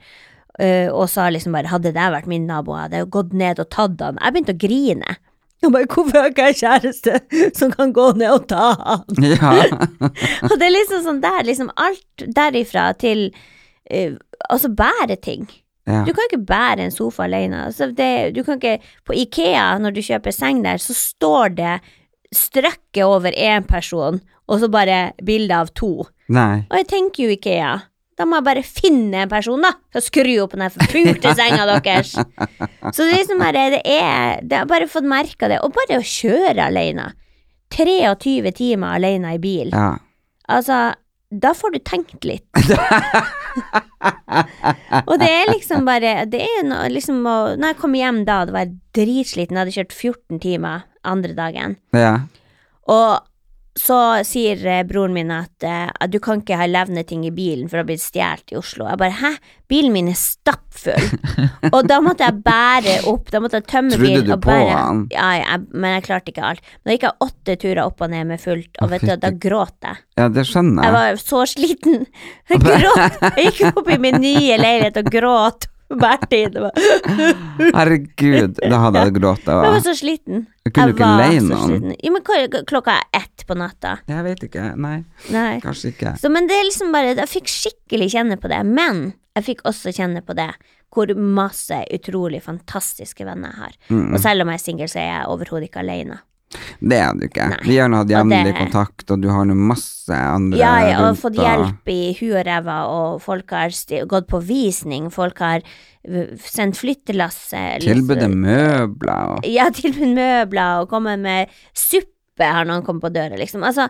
øh, og sa liksom bare Hadde det vært min nabo, hadde jeg jo gått ned og tatt han. Jeg begynte å grine. Jeg bare, Hvorfor har ikke jeg kjæreste som kan gå ned og ta han?
Ja.
Og det er liksom sånn der, liksom alt derifra til eh, Altså bære ting.
Ja.
Du kan ikke bære en sofa alene. Altså det, du kan ikke, på Ikea, når du kjøper seng der, så står det strøkket over én person, og så bare bilde av to.
Nei.
Og jeg tenker jo Ikea. Da må jeg bare finne en person, da, til å skru opp den her forpulte senga deres. Så det er liksom bare, det er Det har bare fått merka det. Og bare å kjøre alene. 23 timer alene i bil.
Ja.
Altså, da får du tenkt litt. og det er liksom bare Det er noe liksom å Når jeg kom hjem da, det var jeg dritsliten, jeg hadde kjørt 14 timer andre dagen,
ja.
og så sier eh, broren min at eh, at du kan ikke ha levnet ting i bilen for å bli stjålet i Oslo. Jeg bare hæ, bilen min er stappfull. og da måtte jeg bære opp, da måtte jeg tømme
Trodde
bilen.
du
og
på
bære-
han?
Ja, jeg, men jeg klarte ikke alt. Da gikk jeg åtte turer opp og ned med fullt,
Å,
og vet du, da
fytti-
gråt jeg.
ja, det skjønner jeg.
Jeg var så sliten. Jeg gråt. Jeg gikk opp i min nye leilighet og gråt hver tid. Det var-
Herregud, da hadde jeg grått. da.
Jeg var så sliten.
Jeg kunne ikke leie
så
noen.
sliten. Jo, men hva- klokka er ett på natta.
Jeg vet ikke. Nei,
Nei.
kanskje ikke.
Så, men det er liksom bare Jeg fikk skikkelig kjenne på det. Men jeg fikk også kjenne på det hvor masse utrolig fantastiske venner jeg har.
Mm.
Og selv om jeg er singel, så er jeg overhodet ikke alene.
Det er du ikke.
Nei.
Vi har nå hatt
Og det-
jevnlig kontakt, og du har nå masse andre
Ja, jeg har fått
og-
hjelp i huet og ræva, og folk har sti gått på visning, folk har øh, sendt flyttelass eh,
Tilbudet møbler og
Ja, tilbud møbler og komme med suppe har noen kommet på døra, liksom. Altså,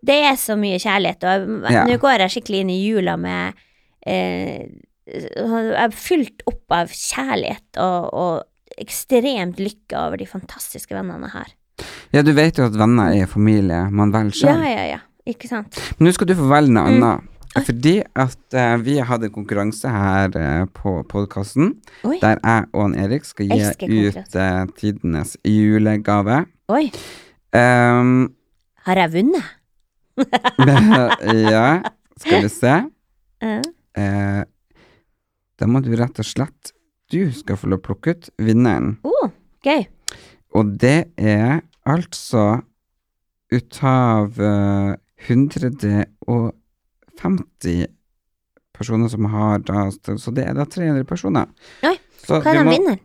det er så mye kjærlighet, og jeg-
Ja.
nå går jeg skikkelig inn i jula med eh, Jeg er fylt opp av kjærlighet og, og ekstremt lykke over de fantastiske vennene jeg har.
Ja, du vet jo at venner er familie man velger
Ja,
sjøl.
ja, Mm. ja. Ikke sant?
Men nå skal du få velge noe annet. Fordi at eh, vi hadde en konkurranse her eh, på podkasten,
Oi.
der jeg og han Erik skal
Elsker
gi
konkurranse.
ut eh, tidenes julegave.
Oi.
Um,
Har jeg vunnet?
ja, skal vi se.
Ja.
Eh, da må du rett og slett Du skal få lov å plukke ut vinneren.
Oh, gøy.
Og det er altså ut av eh, 150 personer som har da Så det er da 300 personer.
Oi,
Så
Hva
du
er den
må-
vinneren?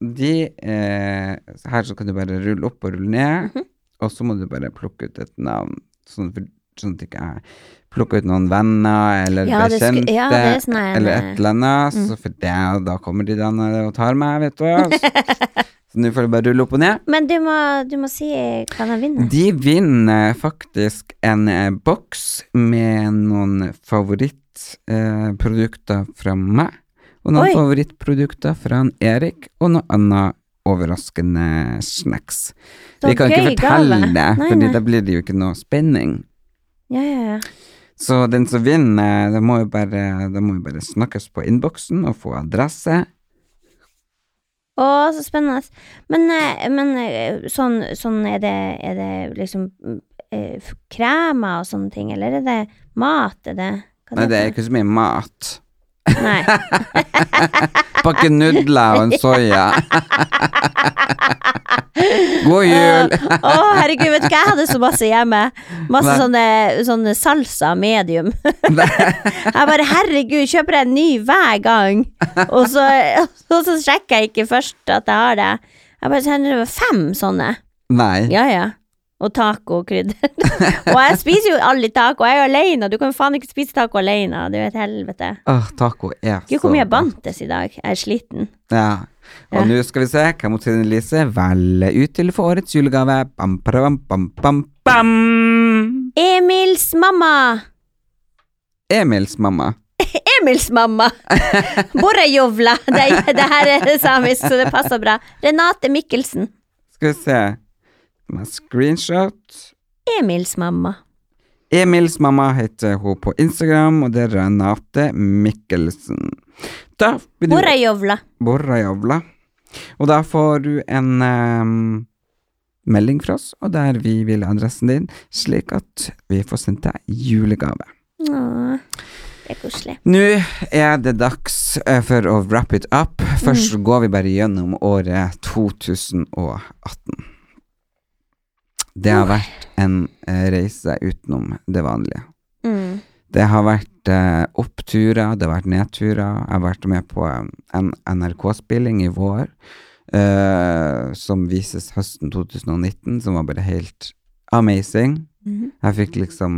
De, eh, her så kan du bare rulle opp og rulle ned,
Mhm.
og så må du bare plukke ut et navn. Sånn, for, sånn at ikke jeg plukker ut noen venner eller
Ja, det sku-
bekjente
ja, det er sånn her, mhm.
eller et eller annet. Så for det, da kommer de der nede og tar meg, vet du. Så, så nå får du bare rulle opp og ned.
Men du må, du må si hva den vinner.
De vinner faktisk en eh, boks med noen favorittprodukter eh, produkter fra meg, og noen
Oi.
favorittprodukter fra han Erik, og noe annet overraskende snacks.
Så
Vi kan ikke
gøy
fortelle
gave.
det,
Nei,
for
nei.
da blir det jo ikke noe spenning.
Ja, ja, ja.
Så den som vinner, da må jo bare, da må jo bare snakkes på innboksen og få adresse.
Å, så spennende. Men, eh, men eh, sånn, sånn er, det, er det liksom mm, eh, f- kremer og sånne ting, eller er det mat? Er det, hva
Nei, det er
heter?
ikke så mye mat.
Nei.
Pakke nudler og en soya. God jul!
Å, herregud, vet du hva, jeg hadde så masse hjemme. Masse sånne, sånne salsa medium. Jeg bare, herregud, kjøper jeg en ny hver gang? Og så, og så sjekker jeg ikke først at jeg har det. Jeg bare sender over fem sånne.
Nei.
Ja, ja. Og tacokrydder. og jeg spiser jo aldri taco, jeg er jo alene. Du kan jo faen ikke spise taco alene. Det er jo et helvete.
Åh, Ah, taco er
Gud, hvor mye
godt.
bantes i dag. Jeg er sliten.
Ja. Og
Ja.
nå skal vi se hva mot Trine Lise velger ut til for årets julegave. Bam, para, bam, bam, bam, bam.
Emils mamma!
Emils mamma.
Emils mamma! Borrejovla. Det, er- det her er samisk, så det passer bra. Renate Mikkelsen.
Skal vi se. Med screenshot.
Emils mamma.
Emils mamma heter hun på Instagram, og det er Renate Mikkelsen. Da blir du
Borrejovla.
Borrajavla. Og da får du en ehm, melding fra oss, og der vi vil adressen din, slik at vi får sendt deg julegave.
Åh, Det er koselig.
Nå er det dags eh, for å wrap it up. Først går vi bare gjennom året 2018. Det har vært en eh, reise utenom det vanlige.
Mm.
Det har vært eh, oppturer, det har vært nedturer. Jeg har vært med på eh, en NRK-spilling i vår eh, som vises høsten 2019, som var bare helt amazing.
Mhm.
Jeg fikk liksom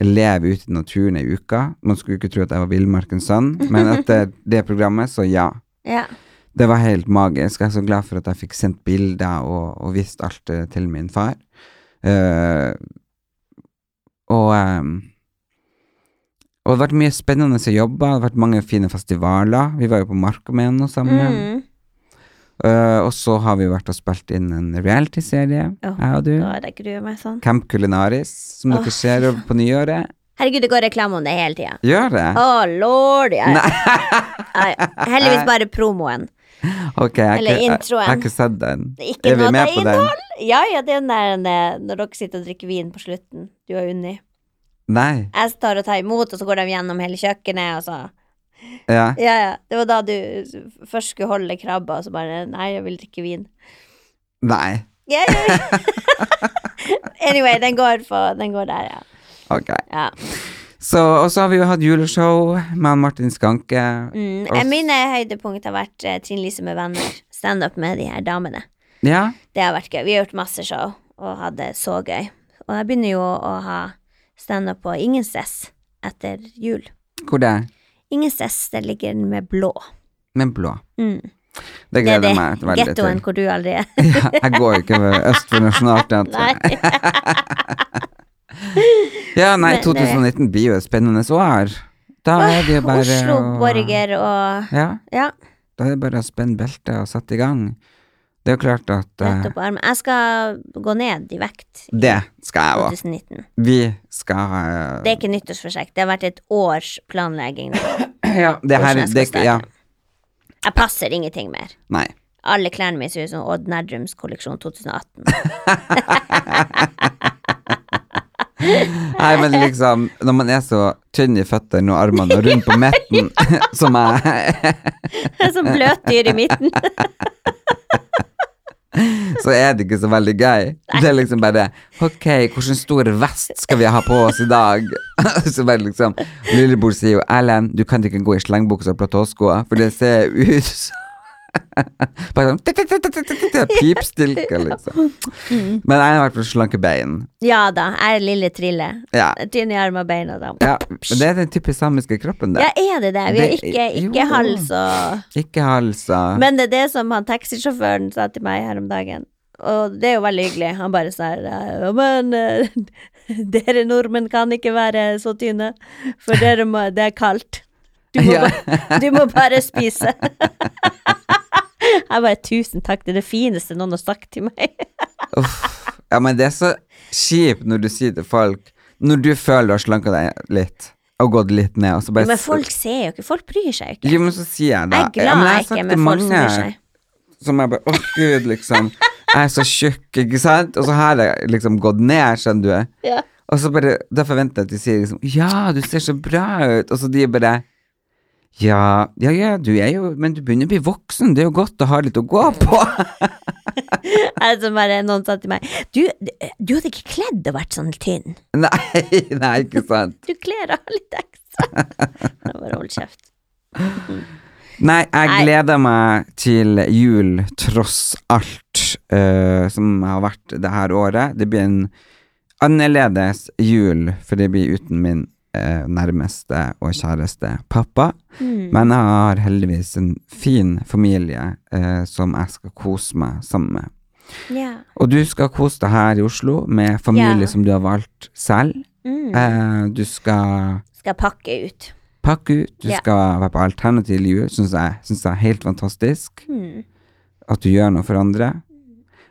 leve ute i naturen ei uke. Man skulle ikke tro at jeg var villmarkens sønn, men etter det programmet, så ja.
Ja.
Det var helt magisk. Jeg er så glad for at jeg fikk sendt bilder og, og vist alt det til min far. Eh, og ehm, Og det har vært mye spennende jobber. Det har vært mange fine festivaler. Vi var jo på Markomen og sammen.
Mm.
Eh, og så har vi vært og spilt inn en realityserie,
Åh,
jeg og du.
Åh, det gruer meg sånn.
Camp Culinaris, som
Åh,
dere ser
fy faen.
på nyåret.
Herregud, det går reklame om det hele tida.
Gjør det?
Å, lord, ja. Nei, Heldigvis bare promoen.
Ok, jeg, har
Eller
ikke- jeg,
introen.
jeg har ikke sett den.
Det er Ikke
Er vi
noe
med på den?
innhold. Ja, ja, det er den der eh, når dere sitter og drikker vin på slutten. Du og Unni.
Nei.
Jeg tar og tar imot, og så går de gjennom hele kjøkkenet, og så
Ja.
Ja, ja. Det var da du først skulle holde krabba, og så bare Nei, jeg vil drikke vin.
Nei.
Ja, ja, ja. anyway, den går, på, den går der, ja.
Ok.
ja.
Så, og så har vi jo hatt juleshow med han Martin Skanke.
Mm.
Og-
Mine høydepunkt har vært eh, Trine Lise med venner. Standup med de her damene.
Ja.
Det har vært gøy. Vi har gjort masse show og hatt det så gøy. Og jeg begynner jo å ha standup på Ingensteds etter jul.
Hvor det er?
Ingensteds, det ligger med blå.
Med blå.
Mm.
Det
Det er
gleder
det
jeg meg veldig til.
gettoen hvor du aldri er.
Ja, jeg går jo ikke ved øst for
Nei.
nasjonalteatret. Ja, nei,
Men, eh,
2019 blir jo et spennende år. Da er det jo bare
Oslo
å-
Borger og
Ja,
Ja,
da er det bare å spenne beltet og sette i gang. Det er jo klart at eh,
nettopp armen. Jeg skal gå ned i vekt i
Det skal jeg òg.
2019.
Vi skal eh,
Det er ikke nyttårsprosjekt. Det har vært et års planlegging. nå.
Ja, det
hvordan
her
jeg skal
det,
starte.
Ja,
Jeg passer ingenting mer.
nei.
Alle klærne mine ser ut som Odd Nerdrums kolleksjon 2018.
Nei, men liksom, når man er så tynn i føttene og armene og rund på midten, som jeg,
Som bløtdyr i midten.
så er det ikke så veldig gøy. Det er liksom bare Ok, hvilken stor vest skal vi ha på oss i dag? Så bare liksom Lillebror sier jo Erlend, du kan ikke gå i slengbukse og platåsko, for det ser ut som Bare sånn Pipstilke, liksom.
Mm.
Men jeg har vært på slanke bein.
Ja da, jeg er lille Trille.
Ja.
Tynn i armer og bein og da.
ja. Men det er den typisk samiske kroppen,
Ja,
det.
er det det? Vi har
Det-
ikke,
jo.
ikke hals og
Ikke halsa.
Men det er det som han taxisjåføren sa til meg her om dagen. Og det er jo veldig hyggelig. Han bare sånn her «Ja, Men eh, dere nordmenn kan ikke være så tynne, for dere må Det er kaldt. Du må,
Ja.
bare, du må bare spise. Jeg bare Tusen takk, det er det fineste noen har sagt til meg.
Uff. Ja, men det er så kjipt når du sier til folk Når du føler du har slanka deg litt, og gått litt ned, og så bare
Men folk ser jo ikke, folk bryr seg jo ikke.
Jo, men så sier jeg det.
Jeg er
Ja, men
glad jeg
sagt
ikke er
til
med folk som bryr
mange
seg.
Som jeg bare Å, gud, liksom. Jeg er så tjukk, ikke sant? Og så har jeg liksom gått ned, skjønner du.
Ja.
Og så bare Da forventer jeg at de sier liksom Ja, du ser så bra ut. Og så de bare ja, ja, ja, du er jo Men du begynner å bli voksen, det er jo godt å ha litt å gå på.
Altså bare Noen sa til meg Du, du hadde ikke kledd og vært sånn tynn.
nei, nei, ikke sant.
Du kler av litt ekstra. Jeg bare hold kjeft.
Nei, jeg
Nei.
gleder meg til jul tross alt eh, som har vært det her året. Det blir en annerledes jul, for det blir uten min eh, nærmeste og kjæreste pappa.
Mm.
Men jeg har heldigvis en fin familie eh, som jeg skal kose meg sammen med.
Ja.
Og du skal kose deg her i Oslo med familie
Ja.
som du har valgt selv.
Mm.
Eh, du skal
Skal pakke ut.
pakke ut, du
Ja.
skal være på alternativ jul, syns jeg, synes jeg er helt fantastisk.
Hmm.
At du gjør noe for andre.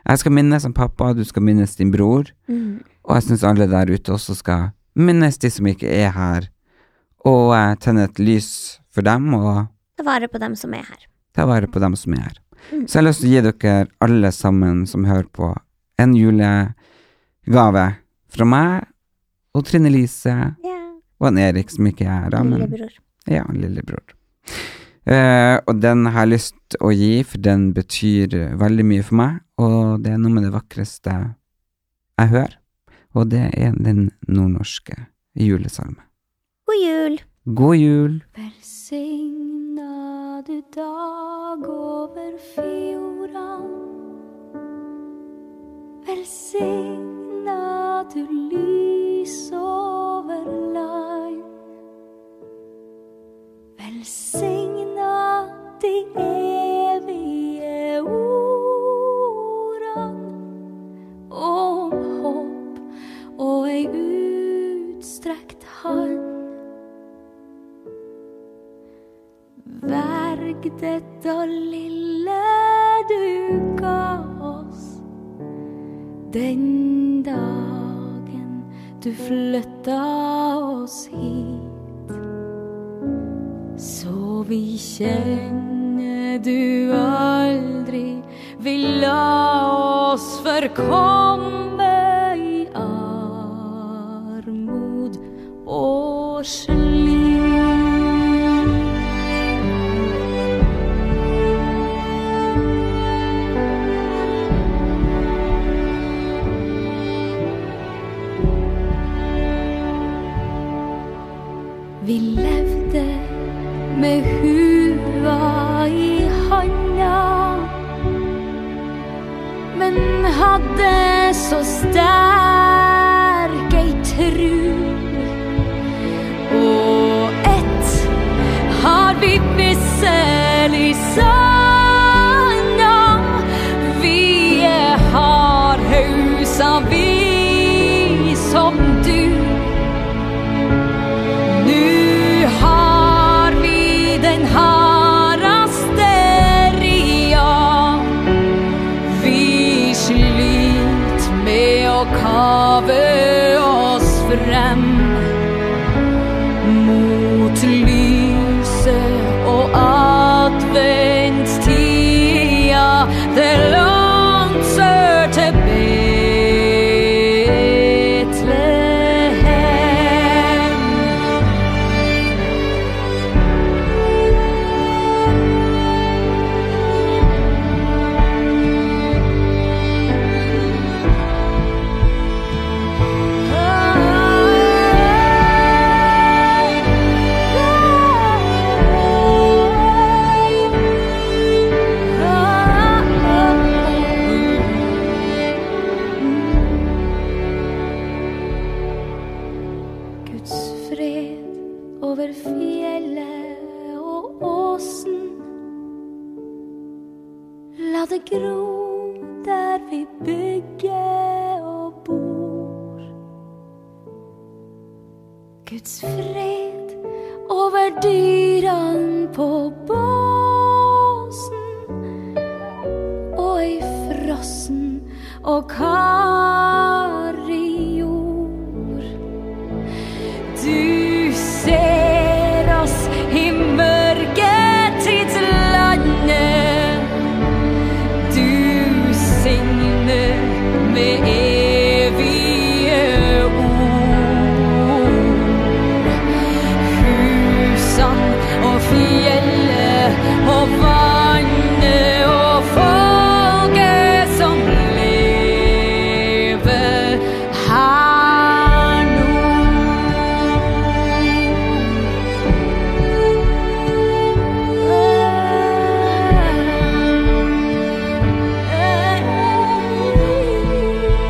Jeg skal minnes som pappa, du skal minnes din bror, og jeg syns alle der ute også skal minnes de som ikke er her, og eh, tenne et lys for dem, og
Ta vare på dem som er her.
ta vare på dem som er her.
Hmm.
Så jeg har lyst til å gi dere alle sammen som hører på, en julegave fra meg og Trine Lise
Ja,
og han Erik som ikke er her, da, men
lillebror.
ja, lillebror. Eh, og den har jeg lyst til å gi, for den betyr eh, veldig mye for meg. Og det er noe med det vakreste jeg hører, og det er den nordnorske julesalmen.
God jul!
God jul!
Velsigna du dag over fjordan. Velsigna du lys over land. Velsigna de evige ordan om håp og ei utstrekt hand. Verg dette lille du ga oss den dagen du flytta oss hit. Så vi kjenner du aldri vil la oss forkomme i armod og slit. men hadde så sterk ei tru. Og ett har vi visselig sanna. Vi er hardhausa, vi som du. Nu har vi den hardaste ria. Vi slit med å kave oss frem mot lyset og adventstida. Det er langt sør til Betlehem. Guds fred over fjellet og åsen. La det gro der vi bygger og bor. Guds fred over dyran på båsen. Og ei frossen og kar i jord. Du ser oss i mørketidslandet. Du signer med evige ord. Husene og fjellet og vannet og folket som lever her nå.